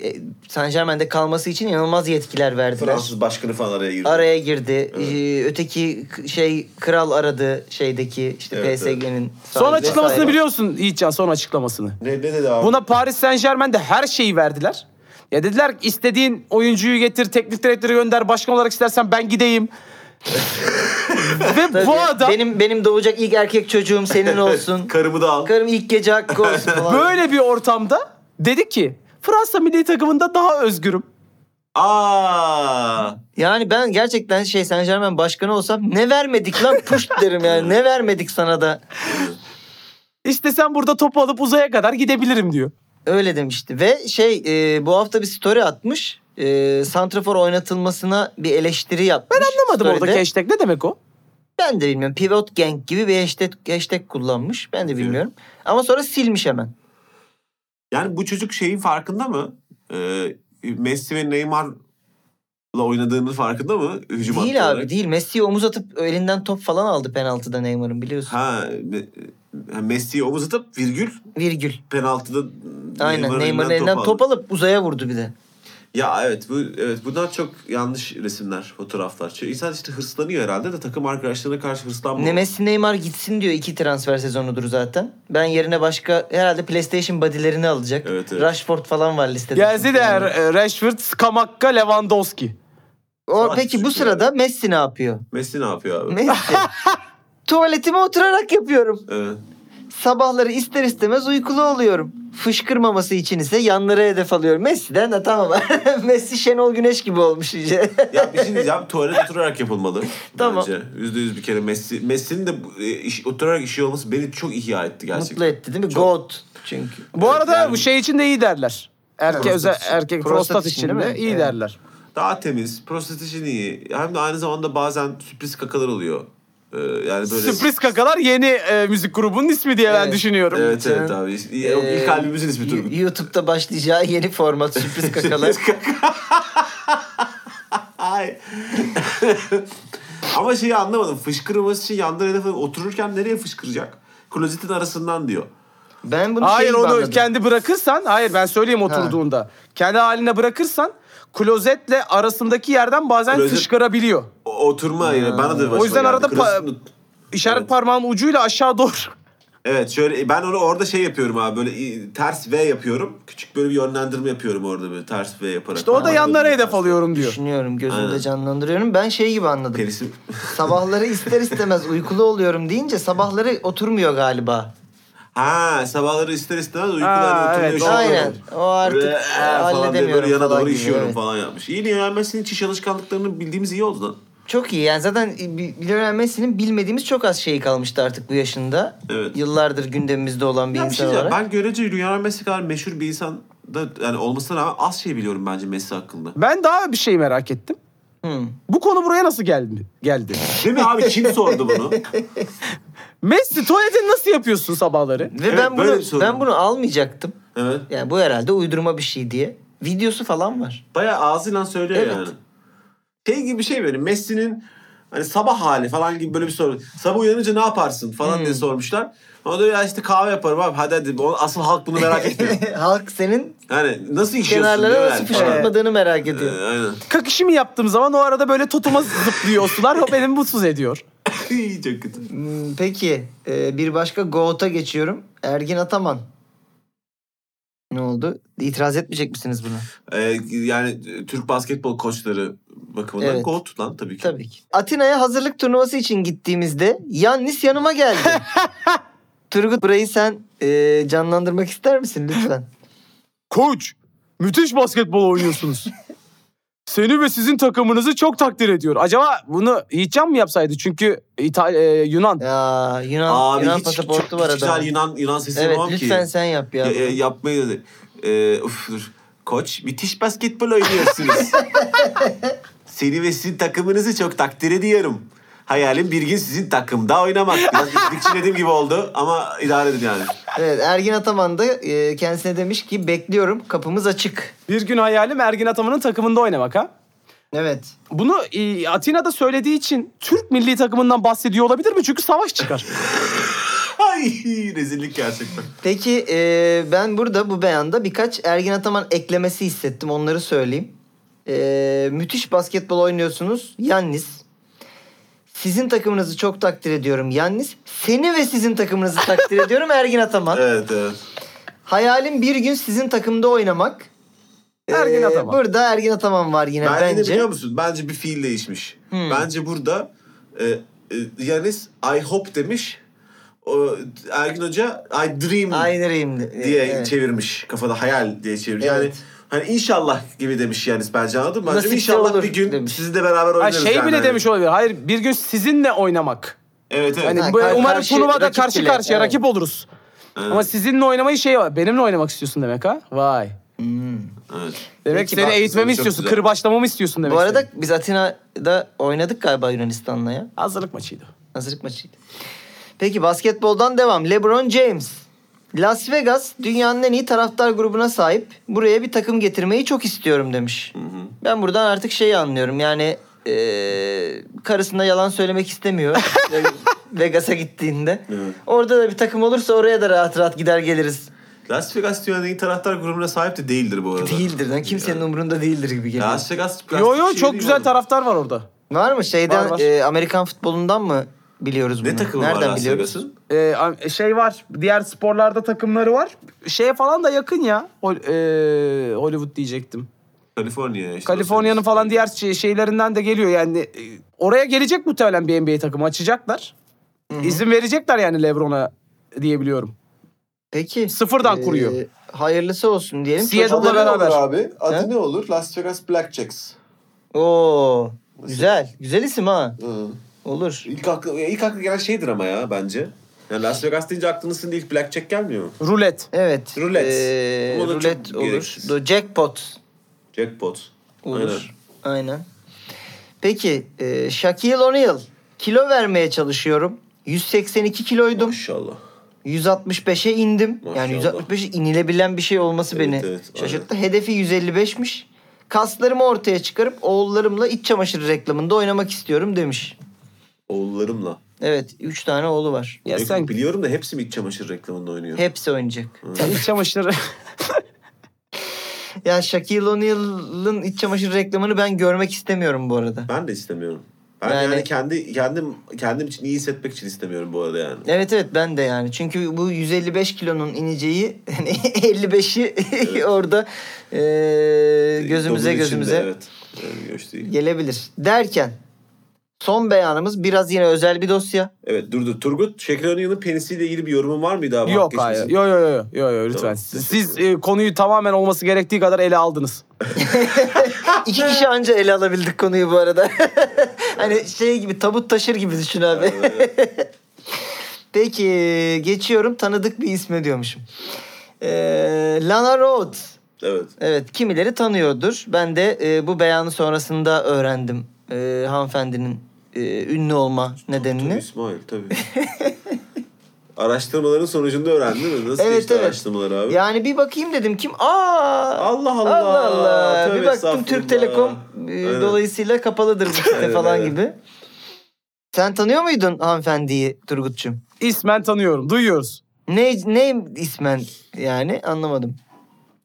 B: e, Saint Germain'de kalması için inanılmaz yetkiler verdiler.
D: (laughs) Fransız başkanı falan araya girdi.
B: Araya girdi. E, öteki k- şey kral aradı şeydeki işte
D: Evet,
B: PSG'nin.
C: Son açıklamasını
B: vesaire.
C: biliyor musun Yiğitcan son açıklamasını?
D: Ne, ne dedi abi?
C: Buna Paris Saint Germain'de her şeyi verdiler. Ya dediler ki istediğin oyuncuyu getir, teknik direktörü gönder, başkan olarak istersen
B: (laughs)
C: ben gideyim. Ve
B: Tabii.
C: bu adam
B: benim benim doğacak ilk erkek çocuğum
C: (laughs)
B: senin olsun.
D: Karımı da al.
B: Karım ilk gece hakkı olsun falan.
C: böyle bir ortamda dedi ki Fransa milli takımında daha özgürüm.
D: Aa!
B: Yani ben gerçekten şey Saint Germain başkanı olsam ne vermedik lan (laughs) puşt derim yani. Ne vermedik sana da.
C: İşte sen burada topu alıp uzaya kadar gidebilirim diyor.
B: Öyle demişti ve şey e, bu hafta bir story atmış. E, Santrafor oynatılmasına bir eleştiri yapmış.
C: Ben anlamadım
B: story'de.
C: oradaki hashtag ne demek o?
B: Ben de bilmiyorum. Pivot Gang gibi bir hashtag, hashtag kullanmış. Ben de bilmiyorum. Ama sonra silmiş hemen.
D: Yani bu çocuk şeyin farkında mı? Ee, Messi ve Neymar'la oynadığının farkında mı? Hücum hattı
B: değil abi
D: olarak.
B: değil. Messi'ye omuz atıp elinden top falan aldı penaltıda Neymar'ın biliyorsun.
D: Ha, me- e, Messi'yi omuz atıp virgül
B: Virgül.
D: penaltıda
B: Aynen Neymar'ın elinden
D: aldı.
B: top alıp uzaya vurdu bir de.
D: Ya evet bu evet bunlar çok yanlış resimler, fotoğraflar. Çünkü insan işte hırslanıyor herhalde de takım arkadaşlarına karşı hırslanmıyor.
B: Ne Messi Neymar gitsin diyor iki transfer sezonudur zaten. Ben yerine başka herhalde PlayStation body'lerini alacak.
D: Evet, evet.
B: Rashford falan var listede.
C: Gelse
B: çünkü.
C: de e, Rashford, Skamakka, Lewandowski.
B: O,
D: Savaş
B: peki bu
D: çünkü.
B: sırada Messi ne
D: (laughs)
B: yapıyor?
D: Messi ne yapıyor abi?
B: Messi. Tuvaletime oturarak yapıyorum.
D: Evet.
B: Sabahları ister istemez uykulu oluyorum. Fışkırmaması için ise yanlara hedef alıyorum. Messi'den de tamam. (laughs) Messi Şenol Güneş gibi olmuş iyice.
D: ya bir şey diyeceğim tuvalet oturarak yapılmalı.
B: (laughs) Tamam.
D: Bence. Yüzde yüz bir kere Messi. Messi'nin de bu- e, iş, oturarak işi olması beni çok ihya etti gerçekten.
B: Mutlu etti değil mi? God çünkü.
C: Bu arada bu şey için de iyi derler. Erke,
B: Prostat
C: özel,
B: için.
C: erkek prostat,
B: Prostat için
C: için
B: değil
C: de
B: mi?
C: iyi
B: Evet.
C: derler.
D: Daha temiz, prostat için iyi. Hem de aynı zamanda bazen sürpriz kakalar oluyor. Ee, yani böyle...
C: Sürpriz Kakalar yeni e, müzik grubunun ismi diye ben
B: Evet.
C: düşünüyorum.
D: Evet evet
B: Sen-
D: abi. İlk,
B: Ee,
D: ilk albümümüzün ismi Turgut.
B: Y- YouTube'da başlayacağı yeni format
D: (laughs)
B: sürpriz kakalar.
D: Sürpriz kaka. Ay. (laughs) Ama şeyi anlamadım. Fışkırması için yandan hedef alıp otururken nereye fışkıracak? Klozetin arasından diyor.
B: Ben bunu
C: Hayır
B: şey gibi
C: onu
B: anladım.
C: kendi bırakırsan, hayır ben söyleyeyim oturduğunda. Kendi haline bırakırsan klozetle arasındaki yerden bazen
D: Klozet-
C: fışkırabiliyor.
D: O- oturma yine bana da başıma
C: O yüzden
D: geldi.
C: arada pa-
D: Klozetin-
C: İşaret
D: Evet.
C: parmağının ucuyla aşağı (laughs) doğru.
D: Evet şöyle ben onu orada şey yapıyorum abi böyle i- ters V yapıyorum. Küçük böyle bir yönlendirme yapıyorum orada böyle ters V yaparak.
C: İşte o da yanlara hedef alıyorum diyor.
B: Düşünüyorum
D: Aynen.
B: gözümde canlandırıyorum. Ben şey gibi anladım.
D: Perisi.
B: Sabahları
D: (laughs)
B: ister istemez uykulu oluyorum deyince sabahları oturmuyor galiba.
D: Ha sabahları ister istemez
C: Ha,
D: uykularına oturuyor.
C: evet,
D: şey
C: doğru.
D: yapıyor.
B: Aynen. O artık
D: Böyle, "Ee," falan diye
B: halledemiyorum
D: böyle yana
B: falan
D: doğru
B: gibi,
D: işiyorum
B: evet.
D: falan yapmış. İyi Lionel Messi'nin çiş alışkanlıklarını bildiğimiz iyi oldu lan.
B: Çok iyi yani zaten bir- Lionel Messi'nin bilmediğimiz çok az şeyi kalmıştı artık bu yaşında.
D: Evet.
B: Yıllardır gündemimizde olan bir
D: Ya bir
B: insan
D: şey diyeceğim.
B: olarak.
D: Ben görece Lionel Messi kadar meşhur bir insan da yani olmasına rağmen az şey biliyorum bence Messi hakkında.
C: Ben daha bir şey merak ettim.
B: Hmm.
C: Bu konu buraya nasıl geldi? geldi?
D: Değil mi abi kim sordu
B: (laughs)
D: bunu?
C: Messi tuvaletini nasıl yapıyorsun sabahları?
B: Ve
D: Evet,
B: ben
D: böyle
B: bunu
D: bir sorun.
B: ben bunu almayacaktım.
D: Evet.
B: Yani bu herhalde uydurma bir şey diye. Videosu falan var.
D: Bayağı ağzıyla söylüyor
B: Evet.
D: yani. Şey gibi bir şey böyle Messi'nin hani sabah hali falan gibi böyle bir soru. Sabah uyanınca ne yaparsın falan
B: Hmm.
D: diye sormuşlar. Ona da ya işte kahve yaparım abi hadi hadi. O- Asıl halk bunu
B: (laughs)
D: merak etmiyor.
B: Halk senin
D: Yani nasıl işiyorsun diyor
B: kenarlara nasıl
D: yani falan.
B: fışkırtmadığını merak
D: Ee,
B: ediyor.
D: Aynen. (laughs)
C: Kak işimi yaptığım zaman o arada böyle totuma zıplıyor o sular. Hop elimi mutsuz ediyor.
D: İyi, Çok kötü.
B: Hmm, Peki e, bir başka Goat'a geçiyorum. Ergin Ataman. Ne oldu? İtiraz etmeyecek misiniz buna?
D: Ee, yani Türk basketbol koçları bakımından
B: Evet.
D: GOAT lan tabii ki.
B: Tabii ki. Atina'ya hazırlık turnuvası için gittiğimizde Yannis yanıma geldi. (laughs) Turgut burayı sen e, canlandırmak ister misin lütfen?
C: Koç, müthiş basketbol oynuyorsunuz. Seni ve sizin takımınızı çok takdir ediyor. Acaba bunu Yiğitcan mı yapsaydı? Çünkü İtal- e, Yunan.
B: (laughs) Ya Yunan,
D: Abi
B: Yunan
D: hiç, çok,
B: pasaportu var
D: hiç güzel
B: adamın.
D: Yunan, Yunan sesi
B: Evet
D: yapamam
B: lütfen
D: ki.
B: sen yap ya.
D: Ya, e, yapmayı dedi. Ee, uf, dur. Koç müthiş
B: (laughs)
D: basketbol oynuyorsunuz. Seni ve sizin takımınızı çok takdir ediyorum. Hayalim bir gün sizin takımda oynamak. Biraz (laughs) dediğim gibi oldu ama idare edin yani.
B: Evet Ergin Ataman da e, kendisine demiş ki bekliyorum kapımız açık.
C: Bir gün hayalim Ergin Ataman'ın takımında oynamak ha.
B: Evet.
C: Bunu e, Atina'da söylediği için Türk milli takımından bahsediyor olabilir mi? Çünkü
B: (laughs)
C: savaş çıkar.
D: Ay rezillik gerçekten.
B: Peki e, ben burada bu beyanda birkaç Ergin Ataman eklemesi hissettim. Onları söyleyeyim. E, müthiş basketbol oynuyorsunuz. Yannis. Sizin takımınızı çok takdir ediyorum Yannis. Seni ve sizin takımınızı
D: (laughs)
B: takdir ediyorum Ergin Ataman.
D: Evet evet.
B: Hayalim bir gün sizin takımda oynamak.
C: Ergin
B: E,
C: Ataman.
B: Burada Ergin Ataman var yine
D: Bence, de
B: bence.
D: biliyor musun? Bence bir fiil değişmiş.
C: Hmm.
D: Bence burada e, e, Yanis I hope demiş. O, Ergin Hoca I dream
B: Aynı reyimdi. E,
D: diye şey
B: evet.
D: çevirmiş. Kafada hayal diye çevirmiş. Yani
B: Evet.
D: hani inşallah gibi demiş Yanis bence anladın mı? Bence
B: Nasipse
D: inşallah
B: olur
D: bir gün
B: demiş.
D: sizi de beraber
C: Ha,
D: oynarız.
C: şey
D: yani.
C: bile demiş olabilir. Hayır bir gün sizinle oynamak.
D: Evet evet.
C: Hani
B: Ha,
C: bu-
B: kar-
C: umarım
B: karşı-
C: turnuvada
B: rakip
C: karşı
B: bile,
C: karşıya
B: evet.
C: rakip oluruz.
D: Evet.
C: Ama sizinle oynamayı şey var. Benimle oynamak istiyorsun demek ha. Vay.
D: Hmm. evet.
C: Demek
B: Peki,
C: seni
B: bak,
C: eğitmemi
D: çok
C: istiyorsun.
D: güzel.
C: Kırbaçlamamı istiyorsun demek.
B: Bu arada
C: senin.
B: biz Atina'da oynadık galiba Yunanistan'la ya.
C: hazırlık maçıydı.
B: Hazırlık maçıydı. Peki basketboldan devam. LeBron James. Las Vegas dünyanın en iyi taraftar grubuna sahip. Buraya bir takım getirmeyi çok istiyorum demiş. Ben buradan artık şeyi anlıyorum. Yani eee, karısına yalan söylemek
D: (laughs)
B: istemiyor. Ve- Vegas'a gittiğinde.
D: Evet.
B: Orada da bir takım olursa oraya da rahat rahat gider geliriz.
D: Las Vegas dünyanın en iyi taraftar grubuna sahip de değildir bu arada.
B: Değildir lan. Kimsenin umurunda değildir gibi geliyor.
D: Las Vegas
C: Yo yo
D: şey
C: çok
D: değil
C: güzel
D: oğlum.
C: taraftar var orada.
B: Var mı? Şeyden
C: Var, var.
B: eee, Amerikan futbolundan mı biliyoruz bunu?
D: Ne takımı
B: Nereden
D: var Las
B: biliyoruz?
D: Vegas'ın?
C: Ee, am- şey var. Diğer sporlarda takımları var. Şeye falan da yakın ya. Hol- ee, Hollywood diyecektim.
D: Kaliforniya işte.
C: Kaliforniya'nın
D: Los Angeles.
C: falan diğer şey- şeylerinden de geliyor yani. e, Oraya gelecek muhtemelen bir NBA takımı açacaklar. İzin verecekler yani LeBron'a diyebiliyorum.
B: Peki.
C: Sıfırdan
B: Ee,
C: kuruyor.
B: Hayırlısı olsun diyelim.
C: Seattle'da
B: Çocuklar-
C: beraber-
D: olur abi? Adı ne olur? Las Vegas Blackjacks.
B: Oo. Güzel. Güzel isim ha.
D: Hı.
B: Olur.
D: İlk aklı, ilk aklı gelen şeydir ama ya bence. Yani Las Vegas deyince aklınızın sizin ilk blackjack gelmiyor mu?
C: Rulet.
B: Evet.
D: Rulet.
B: Ee,
D: Bu da çok
B: rulet olur.
D: gereksiz.
B: Do- Jackpot
D: Jackpot.
B: olur. Aynen. Peki. E, Shaquille O'Neal. Kilo vermeye çalışıyorum. 182
D: Aynen.
B: kiloydum.
D: Maşallah.
B: 165'e indim.
D: Maşallah.
B: Yani 165'e inilebilen bir şey olması
D: Evet,
B: beni
D: evet, aynen.
B: şaşırttı. Hedefi 155'miş. Kaslarımı ortaya çıkarıp oğullarımla iç çamaşırı reklamında oynamak istiyorum demiş.
D: Oğullarımla.
B: Evet. 3 tane oğlu var.
C: Ya
D: Ek-
C: sen
D: Biliyorum da hepsi mi iç çamaşır reklamında oynuyor?
B: Hepsi oynayacak.
C: sen iç çamaşırı
B: Ya Shaquille O'Neal'ın iç çamaşır reklamını ben görmek istemiyorum bu arada.
D: Ben de istemiyorum. Ben
B: Yani-
D: yani, kendi kendim kendim için iyi hissetmek için istemiyorum bu arada yani.
B: Evet evet ben de yani. Çünkü bu 155 kilonun ineceği yani (laughs) 55'i (laughs) orada e, gözümüze
D: Domuz
B: gözümüze
D: içinde, evet. Yani hoş değil.
B: gelebilir. Derken son beyanımız biraz yine özel bir dosya.
D: Evet dur dur. Turgut Şekil Önü'nün penisiyle ilgili bir yorumun var mıydı
C: (laughs)
D: abi?
C: yok
D: Hak
C: hayır.
D: geçmesin.
C: Yo yo yo yo yo lütfen.
D: Tamam,
C: Siz, siz, e, konuyu tamamen olması gerektiği kadar ele aldınız.
B: İki kişi anca ele alabildik konuyu bu arada. (laughs) hani şey gibi tabut taşır gibi düşün abi. (laughs) Peki geçiyorum tanıdık bir isme diyormuşum. Ee, Lana Rhodes.
D: Evet.
B: Evet kimileri tanıyordur. Ben de e, bu beyanı sonrasında öğrendim e, hanımefendinin e, ünlü olma
D: Tabii
B: nedenini.
D: İsmail tabii. (laughs) Araştırmaların sonucunda öğrendin mi? Nasıl
B: Evet,
D: geçti
B: evet.
D: araştırmalar abi?
B: Yani bir bakayım dedim kim? Aa!
D: Allah Allah.
B: Allah Allah.
D: Tövbe
B: bir baktım Türk
D: estağfurullah.
B: Telekom e,
D: Aynen.
B: dolayısıyla kapalıdır bu site
D: Aynen,
B: falan
D: aynen.
B: gibi. Sen tanıyor muydun hanımefendiyi Turgut'cum?
C: İsmen tanıyorum. Duyuyoruz.
B: Ne, ne ismen yani anlamadım.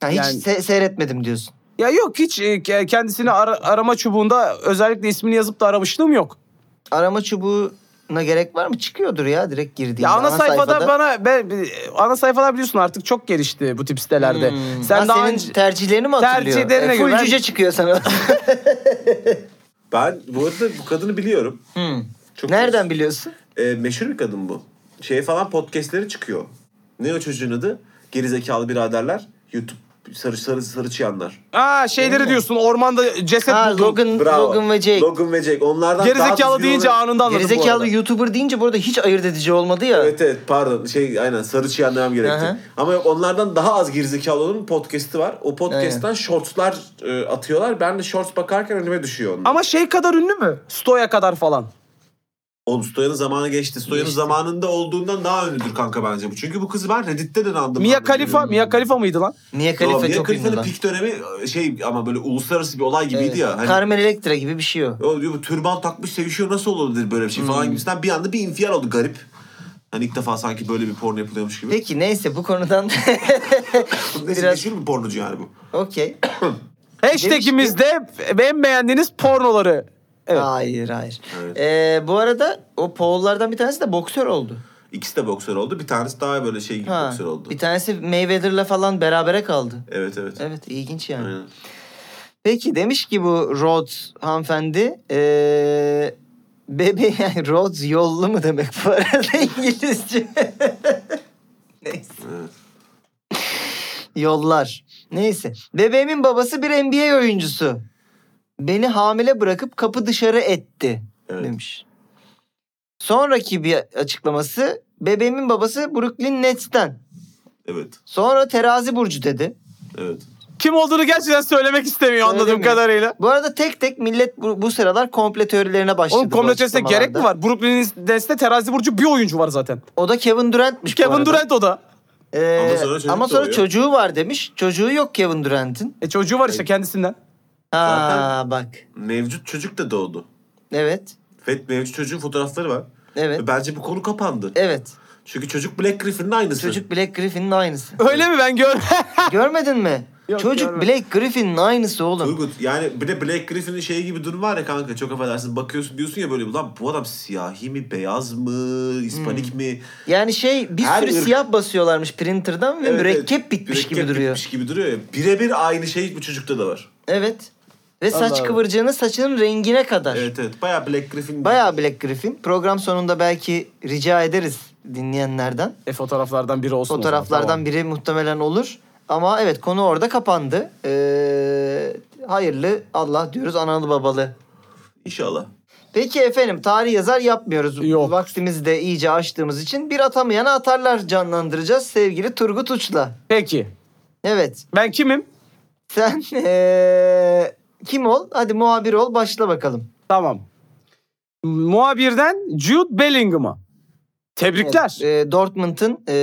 B: Ha, hiç
C: Yani-
B: se- seyretmedim diyorsun.
C: Ya yok hiç e, ke- kendisini ara- arama çubuğunda özellikle ismini yazıp da aramışlığım yok.
B: Arama çubuğuna gerek var mı? Çıkıyordur ya direkt girdiğinde.
C: Ya ana, sayfada, bana ben, ben- ana sayfalar biliyorsun artık çok gelişti bu tip sitelerde.
B: Hmm.
C: Sen
B: Ha,
C: daha
B: senin
C: önce
B: tercihlerini mi hatırlıyor?
C: Tercihlerine
B: E, full
C: göre.
B: cüce çıkıyor
C: (laughs)
B: sana.
D: Ben bu arada bu kadını biliyorum.
B: Hmm.
D: Çok
B: Nereden biliyorsun?
D: E, meşhur bir kadın bu. Şey falan podcastleri çıkıyor. Ne o çocuğun adı? Gerizekalı biraderler. YouTube sarı sarı sarı çıyanlar.
C: Aa şeyleri diyorsun ormanda ceset
B: Ha,
C: buldun.
B: Logan,
D: Bravo.
B: Hmm, Logan ve Jake.
D: Logan ve Jake. Onlardan daha
C: Gerizekalı
D: düzgün
C: deyince
D: olan-
C: anında anladım bu arada.
B: Gerizekalı YouTuber deyince burada hiç ayırt edici olmadı ya.
D: Evet evet pardon şey aynen sarı çıyan demem gerekti.
B: Hı hı.
D: Ama yok onlardan daha az gerizekalı olanın podcast'i var. O podcast'tan shortslar e, atıyorlar. Ben de shorts bakarken önüme düşüyor onlar.
C: Ama şey kadar ünlü mü? Stoya kadar falan.
D: Oğlum Stoyan'ın zamanı geçti. Stoyan'ın
B: Geçti.
D: zamanında olduğundan daha ünlüdür kanka bence bu. Çünkü bu kızı ben Reddit'te de anladım.
C: Mia Khalifa, Mia Khalifa mıydı lan?
B: Niye
D: Yo,
B: Kalife
D: Mia
B: çok ünlü
D: Khalifa'nın
B: lan.
D: pik dönemi e, şey ama böyle uluslararası bir olay gibiydi
B: Evet.
D: ya. Hani,
B: Carmen Electra gibi bir şey o.
D: o diyor, bu türban takmış sevişiyor nasıl olabilir böyle bir şey
B: Hmm.
D: falan gibisinden bir anda bir infial oldu garip. Hani ilk defa sanki böyle bir porno yapılıyormuş gibi.
B: Peki neyse bu konudan
D: Neyse,
B: biraz
D: Meşhur bir pornocu yani
B: (laughs)
D: bu.
B: okey.
C: Hashtag'imizde en beğendiğiniz pornoları. Evet.
B: Hayır hayır.
D: Evet.
B: Ee, bu arada o Paul'lardan bir tanesi de boksör oldu.
D: İkisi de boksör oldu. Bir tanesi daha böyle şey gibi
B: Ha,
D: boksör oldu.
B: Bir tanesi Mayweather'la falan berabere kaldı.
D: Evet evet.
B: Evet ilginç yani.
D: Aynen.
B: Peki demiş ki bu Rhodes hanımefendi ee, bebeği (laughs) yani Rhodes yollu mu demek bu arada (laughs) İngilizce. Neyse.
D: Evet.
B: Yollar. Neyse. Bebeğimin babası bir NBA oyuncusu. Beni hamile bırakıp kapı dışarı etti
D: Evet.
B: demiş. Sonraki bir açıklaması bebeğimin babası Brooklyn Nets'ten.
D: Evet.
B: Sonra terazi burcu dedi.
D: Evet.
C: Kim olduğunu gerçekten söylemek istemiyor anladığım
B: Söylemiyor.
C: kadarıyla.
B: Bu arada tek tek millet bu, bu sıralar komple teorilerine başladı.
C: Oğlum
B: bu
C: komple testine gerek
B: açıklamalarda.
C: mi var? Brooklyn Nets'te terazi burcu bir oyuncu var zaten.
B: O da Kevin Durant'miş bu
C: Kevin
B: arada.
C: Durant o da.
B: Ee,
D: Ama sonra çocuk
B: ama sonra
D: doğuyor.
B: çocuğu var demiş. Çocuğu yok Kevin Durant'in.
C: E çocuğu var işte kendisinden.
B: Ha
D: Zaten-
B: bak.
D: Mevcut çocuk da doğdu.
B: Evet.
D: Fet mevcut çocuğun fotoğrafları var.
B: Evet.
D: Bence bu konu kapandı.
B: Evet.
D: Çünkü çocuk Black Griffin'in aynısı.
B: Çocuk Black Griffin'in aynısı.
C: Öyle mi ben gör? (laughs)
B: Görmedin mi?
C: Yok,
B: Çocuk
C: görmedim.
B: Black Griffin'in aynısı oğlum.
D: Turgut yani bir de Black Griffin'in şeyi gibi durum var ya kanka çok affedersin bakıyorsun diyorsun ya böyle ulan bu adam siyahi mi beyaz mı
B: Hmm.
D: hispanik mi
B: Yani şey bir
D: Her
B: sürü
D: ırk-
B: siyah basıyorlarmış printer'dan ve
D: Evet,
B: mürekkep
D: evet.
B: bitmiş
D: Mürekkep
B: gibi duruyor.
D: bitmiş gibi duruyor ya birebir aynı şey bu çocukta da var
B: Evet. Ve saç
C: Allah.
B: kıvırcığını saçının rengine kadar.
D: evet evet baya Black Griffin
B: Bayağı Black Griffin. Program sonunda belki rica ederiz dinleyenlerden.
C: E fotoğraflardan biri olsun. o zaman,
B: Fotoğraflardan
C: tamam.
B: biri muhtemelen olur. Ama evet konu orada kapandı. Ee, hayırlı Allah diyoruz analı babalı.
D: inşallah
B: Peki efendim tarih yazar yapmıyoruz.
C: Yok.
B: Vaktimizi de iyice açtığımız için bir atamayana atarlar canlandıracağız sevgili Turgut Uç'la.
C: Peki.
B: Evet
C: Ben kimim?
B: sen (laughs) ee, kim ol? Hadi muhabir ol başla bakalım.
C: Tamam. Muhabirden Jude Bellingham'a. Tebrikler.
B: Evet, ee, Dortmund'un... ee,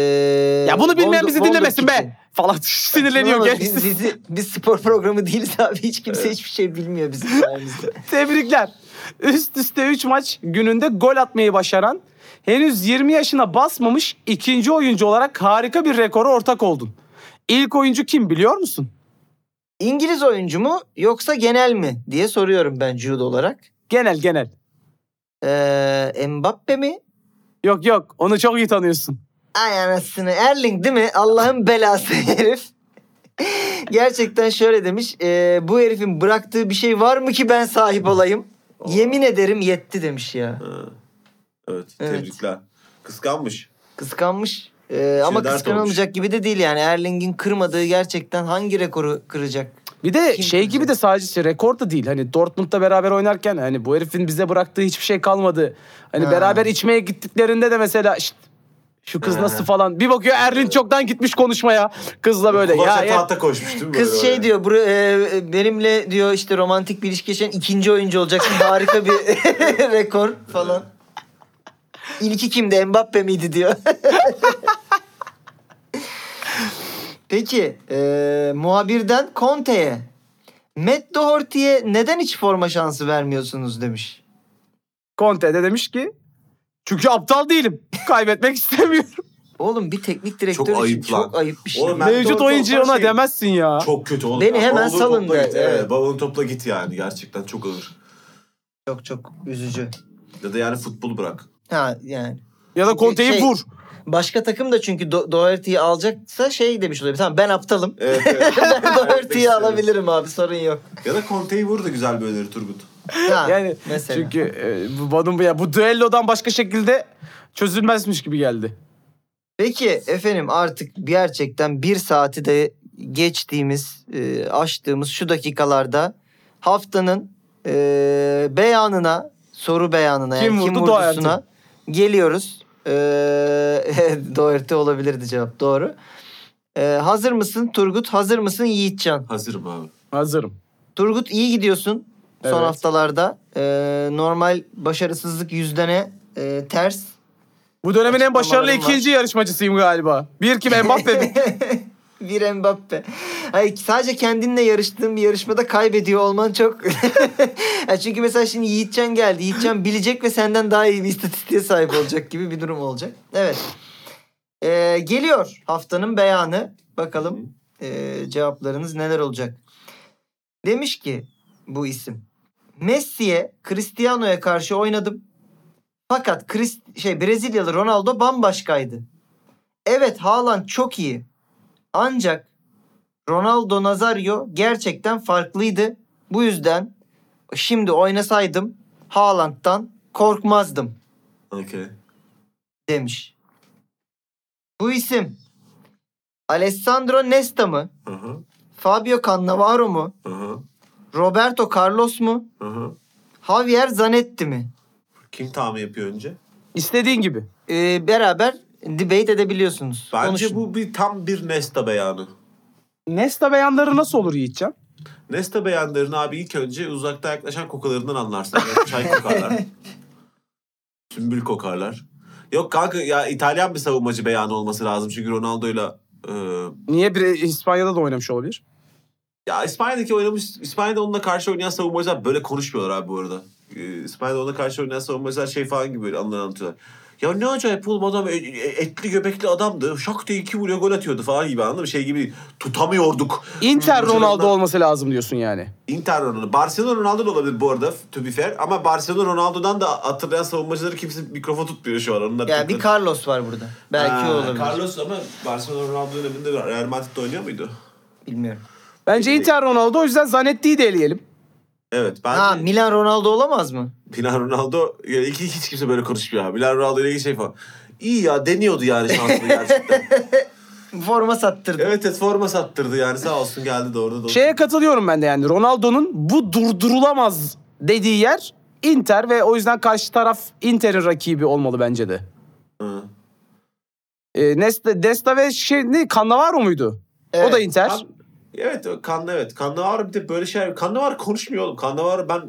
C: ya bunu bilmeyen bizi
B: Wolfsburg
C: dinlemesin
B: için.
C: be. Falan (laughs) sinirleniyor
B: Saçmalama, biz,
C: gereksiz.
B: bizi- biz spor programı değiliz abi. Hiç kimse hiçbir şey bilmiyor bizim sayemizde.
C: Tebrikler. Üst üste 3 maç gününde gol atmayı başaran, henüz 20 yaşına basmamış ikinci oyuncu olarak harika bir rekora ortak oldun. İlk oyuncu kim biliyor musun?
B: İngiliz oyuncu mu yoksa genel mi diye soruyorum ben Jude olarak.
C: Genel genel.
B: Ee, Mbappe mi?
C: Yok yok onu çok iyi tanıyorsun.
B: Ay anasını Erling değil mi? Allah'ın belası herif. Gerçekten şöyle demiş. "Ee, bu herifin bıraktığı bir şey var mı ki ben sahip olayım? Yemin ederim yetti demiş ya.
D: Ha. Evet,
B: Evet.
D: tebrikler. Kıskanmış.
B: Kıskanmış. Ee, ama
D: dert
B: kıskanılmayacak gibi de değil yani. Erling'in kırmadığı gerçekten hangi rekoru kıracak?
C: Bir de
B: Kim
C: şey
B: bilecek?
C: gibi de sadece rekor da değil. Hani Dortmund'da beraber oynarken hani bu herifin bize bıraktığı hiçbir şey kalmadı. Hani
B: Ha.
C: beraber içmeye gittiklerinde de mesela "Şşt, Şu kız nasıl falan. Bir bakıyor Erlin çoktan gitmiş konuşmaya. Kızla böyle.
D: Kulaça
C: Ya, ya,
D: tahta koşmuş değil mi?
B: Kız
D: böyle
B: şey
D: oraya?
B: diyor "Bura- e, benimle diyor işte romantik bir ilişki yaşayan ikinci oyuncu olacaksın. Harika bir (laughs) rekor falan. İlki kimdi? Mbappe miydi diyor. (laughs) Peki e, muhabirden Conte'ye Matt Doherty'ye neden hiç forma şansı vermiyorsunuz demiş.
C: Conte de demiş ki çünkü aptal değilim. Kaybetmek (laughs) istemiyorum.
B: Oğlum bir teknik direktör
D: Çok
B: için
D: ayıp lan.
B: çok ayıp bir şey.
D: Oğlum ben-
C: Mevcut
D: doğru
C: oyuncuya
D: olsam
C: ona
D: şey-
C: demezsin ya.
D: Çok kötü oğlum.
B: Beni
D: ya.
B: hemen
D: Bavulunu
B: salın
D: topla
B: de,
D: Git. Evet.
B: evet.
D: Bavulunu topla git yani. Gerçekten çok ağır.
B: Çok çok üzücü.
D: Ya da yani futbol bırak.
B: Ha yani.
C: Ya da Conte'yi
B: Şey-
C: vur.
B: Başka takım da çünkü Do- Doherty'yi alacaksa şey demiş oluyor. Tamam ben aptalım.
D: Evet, evet.
B: (laughs) ben Doherty'yi
D: istiyorum.
B: alabilirim abi sorun yok.
D: ya da Conte'yi vur da güzel bir öneri Turgut.
B: Ha,
C: Yani
B: mesela.
C: çünkü e, bu, bunun- ya, bu düellodan başka şekilde çözülmezmiş gibi geldi.
B: Peki efendim artık gerçekten bir saati de geçtiğimiz, e, açtığımız şu dakikalarda haftanın e, beyanına, soru beyanına
C: Kim
B: yani
C: vurdu
B: vurdusuna geliyoruz. E, (laughs) Doherty olabilirdi cevap doğru. E, hazır mısın Turgut? Hazır mısın Yiğitcan?
D: Hazırım abi.
C: Hazırım.
B: Turgut iyi gidiyorsun son
C: Evet.
B: haftalarda. Ee, normal başarısızlık yüzdene e, ters.
C: Bu dönemin en başarılı
B: Açıklamalarım var.
C: ikinci yarışmacısıyım galiba. Bir kim Mbappe
B: (laughs)
C: bir-
B: bir Mbappe. Hayır, sadece kendinle yarıştığın bir yarışmada kaybediyor olman çok... (laughs) Yani çünkü mesela şimdi Yiğitcan geldi. Yiğitcan bilecek ve senden daha iyi bir istatistiğe sahip olacak gibi bir durum olacak. Evet. Ee, geliyor haftanın beyanı. Bakalım ee, cevaplarınız neler olacak. Demiş ki bu isim. Messi'ye, Cristiano'ya karşı oynadım. Fakat Chris, şey Brezilyalı Ronaldo bambaşkaydı. Evet Haaland çok iyi. Ancak Ronaldo Nazario gerçekten farklıydı. Bu yüzden şimdi oynasaydım Haaland'dan korkmazdım
D: Okey.
B: demiş. Bu isim Alessandro Nesta mı?
D: Hı hı.
B: Fabio Cannavaro mu?
D: Hı hı.
B: Roberto Carlos mu?
D: Hı hı.
B: Javier Zanetti mi?
D: Kim tahmin yapıyor önce?
C: İstediğin gibi.
B: Ee, beraber debate edebiliyorsunuz.
D: Bence
B: Konuşun.
D: bu bir tam bir Nesta beyanı.
C: Nesta beyanları nasıl olur Yiğitcan?
D: Nesta beyanlarını abi ilk önce uzakta yaklaşan kokularından anlarsın. Yani çay kokarlar. Sümbül kokarlar. Yok kanka ya İtalyan bir savunmacı beyanı olması lazım. Çünkü Ronaldo'yla e,
C: Niye bir İspanya'da da oynamış olabilir?
D: ya İspanya'daki oynamış İspanya'da onunla karşı oynayan savunmacılar böyle konuşmuyorlar abi bu arada. E, İspanya'da onunla karşı oynayan savunmacılar şey falan gibi böyle anılar anlatıyorlar. Ya ne acayip oğlum adam e- e- etli göbekli adamdı. Şak diye iki vuruyor gol atıyordu falan gibi anladın mı? Şey gibi tutamıyorduk.
C: Inter Ronaldo
D: Ronaldo
C: olması lazım diyorsun yani.
D: Inter Ronaldo. Barcelona Ronaldo da olabilir bu arada to be fair. Ama Barcelona Ronaldo'dan da hatırlayan savunmacıları kimse mikrofon tutmuyor şu an. Onlar
B: Yani bir
D: tutmadı.
B: Carlos var burada. Belki
D: Ha,
B: o olabilir.
D: Carlos ama Barcelona Ronaldo döneminde Real Madrid'de oynuyor muydu?
B: Bilmiyorum.
C: Bence Inter Ronaldo o yüzden Zanetti'yi de eleyelim.
D: Evet. Ben
B: Ha Milan Ronaldo olamaz mı?
D: Milan Ronaldo ya iki, hiç kimse böyle konuşmuyor abi. Milan Ronaldo ile ilgili şey falan. İyi ya deniyordu yani şansını gerçekten.
B: (laughs) Forma sattırdı.
D: evet evet forma sattırdı yani sağ olsun geldi doğru doğru.
B: Şey-
C: Şeye katılıyorum ben de yani Ronaldo'nun bu durdurulamaz dediği yer Inter ve o yüzden karşı taraf Inter'in rakibi olmalı bence de.
D: Hı.
C: E, Nesta, Desta ve şey ne Cannavaro muydu? O
B: Evet.
C: da Inter.
D: Kan- evet kanlı evet. Kanlı var bir de böyle şeyler. Kanlı var konuşmuyor oğlum. Kanlı var ben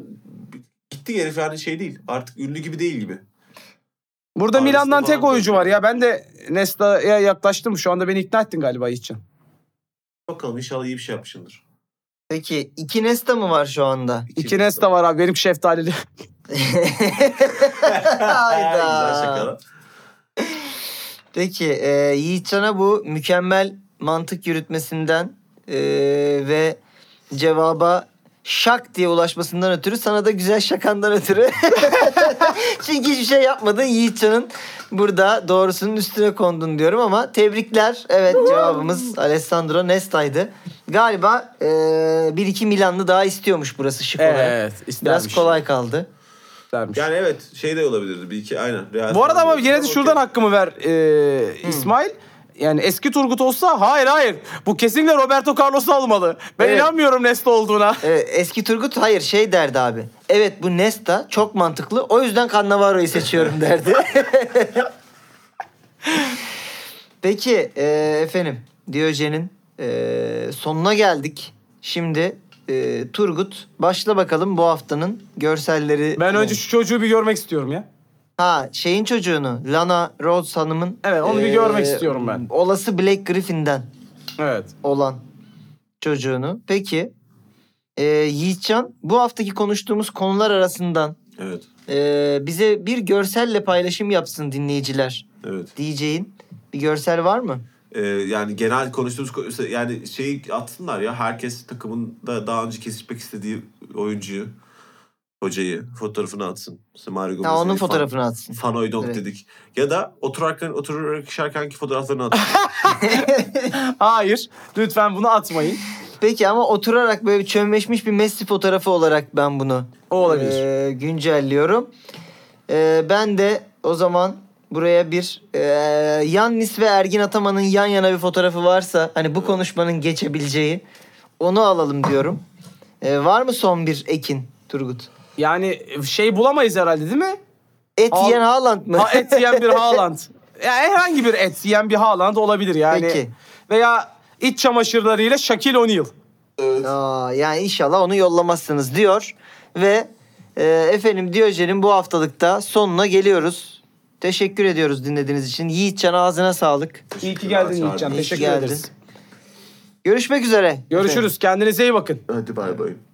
D: gitti herif yani şey değil. Artık ünlü gibi değil gibi.
C: Burada
D: Arasında
C: Milan'dan
D: falan
C: tek oyuncu
D: böyle.
C: var ya. Ben de Nesta'ya yaklaştım. Şu anda beni ikna ettin galiba için.
D: Bakalım inşallah iyi bir şey
B: (laughs)
D: yapmışındır.
B: Peki iki Nesta mı var şu anda?
C: İki Nesta var abi. Benim (laughs) şeftalili.
D: Güzel şaka
B: Hayda.
D: lan.
B: Peki e, Yiğitcan'a bu mükemmel mantık yürütmesinden e, ve cevaba şak diye ulaşmasından ötürü sana da güzel şakandan ötürü. (laughs) Çünkü hiçbir şey yapmadın Yiğitcan'ın burada doğrusunun üstüne kondun diyorum ama tebrikler. Evet cevabımız Alessandro Nesta'ydı. Galiba e, bir iki Milanlı daha istiyormuş burası şık olarak. Biraz kolay kaldı.
C: istermiş.
D: Yani evet şey de olabilirdi. Bir iki aynen. Real
C: Bu arada ama
D: olabilirdi
C: yine de şuradan
D: okey.
C: hakkımı ver e, İsmail. Yani eski Turgut olsa hayır hayır. Bu kesinlikle Roberto Carlos almalı. Ben
B: Evet.
C: inanmıyorum Nesta olduğuna.
B: Evet, E, eski Turgut hayır şey derdi abi. Evet bu Nesta çok mantıklı. O yüzden Cannavaro'yu seçiyorum derdi. (laughs) Peki e, efendim Diyojen'in e, sonuna geldik. Şimdi e, Turgut başla bakalım bu haftanın görselleri.
C: Ben önce şu çocuğu bir görmek istiyorum ya.
B: Ha şeyin çocuğunu Lana Rhodes Hanım'ın. e,
C: Evet, onu bir görmek istiyorum ben.
B: Olası Black Griffin'den
C: Evet.
B: olan çocuğunu. Peki e, Yiğitcan bu haftaki konuştuğumuz konular arasından
D: Evet.
B: e, bize bir görselle paylaşım yapsın dinleyiciler
D: Evet.
B: diyeceğin bir görsel var mı?
D: Ee, yani genel konuştuğumuz ko- yani şeyi atsınlar ya herkes takımında daha önce kesişmek istediği oyuncuyu hocayı fotoğrafını atsın. İşte Mario Gomez'i,
B: Ha, onun
D: fan-
B: fotoğrafını atsın.
D: Fanoy Donk
B: Evet.
D: dedik. Ya da oturarken oturarak
B: (laughs)
D: işerkenki fotoğraflarını atsın.
C: Hayır. Lütfen bunu atmayın.
B: Peki ama oturarak böyle çömleşmiş bir Messi fotoğrafı olarak ben bunu
C: O olabilir.
B: e, güncelliyorum. E, ben de o zaman buraya bir e, Yannis ve Ergin Ataman'ın yan yana bir fotoğrafı varsa hani bu konuşmanın geçebileceği onu alalım diyorum. E, var mı son bir Ekin Turgut?
C: Yani şey bulamayız herhalde değil mi?
B: Et
C: Al-
B: yiyen Haaland mı?
C: Ha, et yiyen bir Haaland. Ya herhangi bir et yiyen bir Haaland olabilir yani.
B: Peki.
C: Veya iç çamaşırlarıyla Shaquille O'Neal.
B: Aa, yani inşallah onu yollamazsınız diyor. Ve e, efendim Diyojen'in bu haftalıkta sonuna geliyoruz. Teşekkür ediyoruz dinlediğiniz için. Yiğitcan ağzına sağlık.
C: İyi ki geldin
D: Teşekkürler,
C: Yiğitcan.
D: Çağrı.
B: İyi ki
C: Teşekkür
B: geldin.
C: ederiz.
B: Görüşmek üzere.
C: Görüşürüz. Kendinize iyi bakın.
D: Hadi bay bay.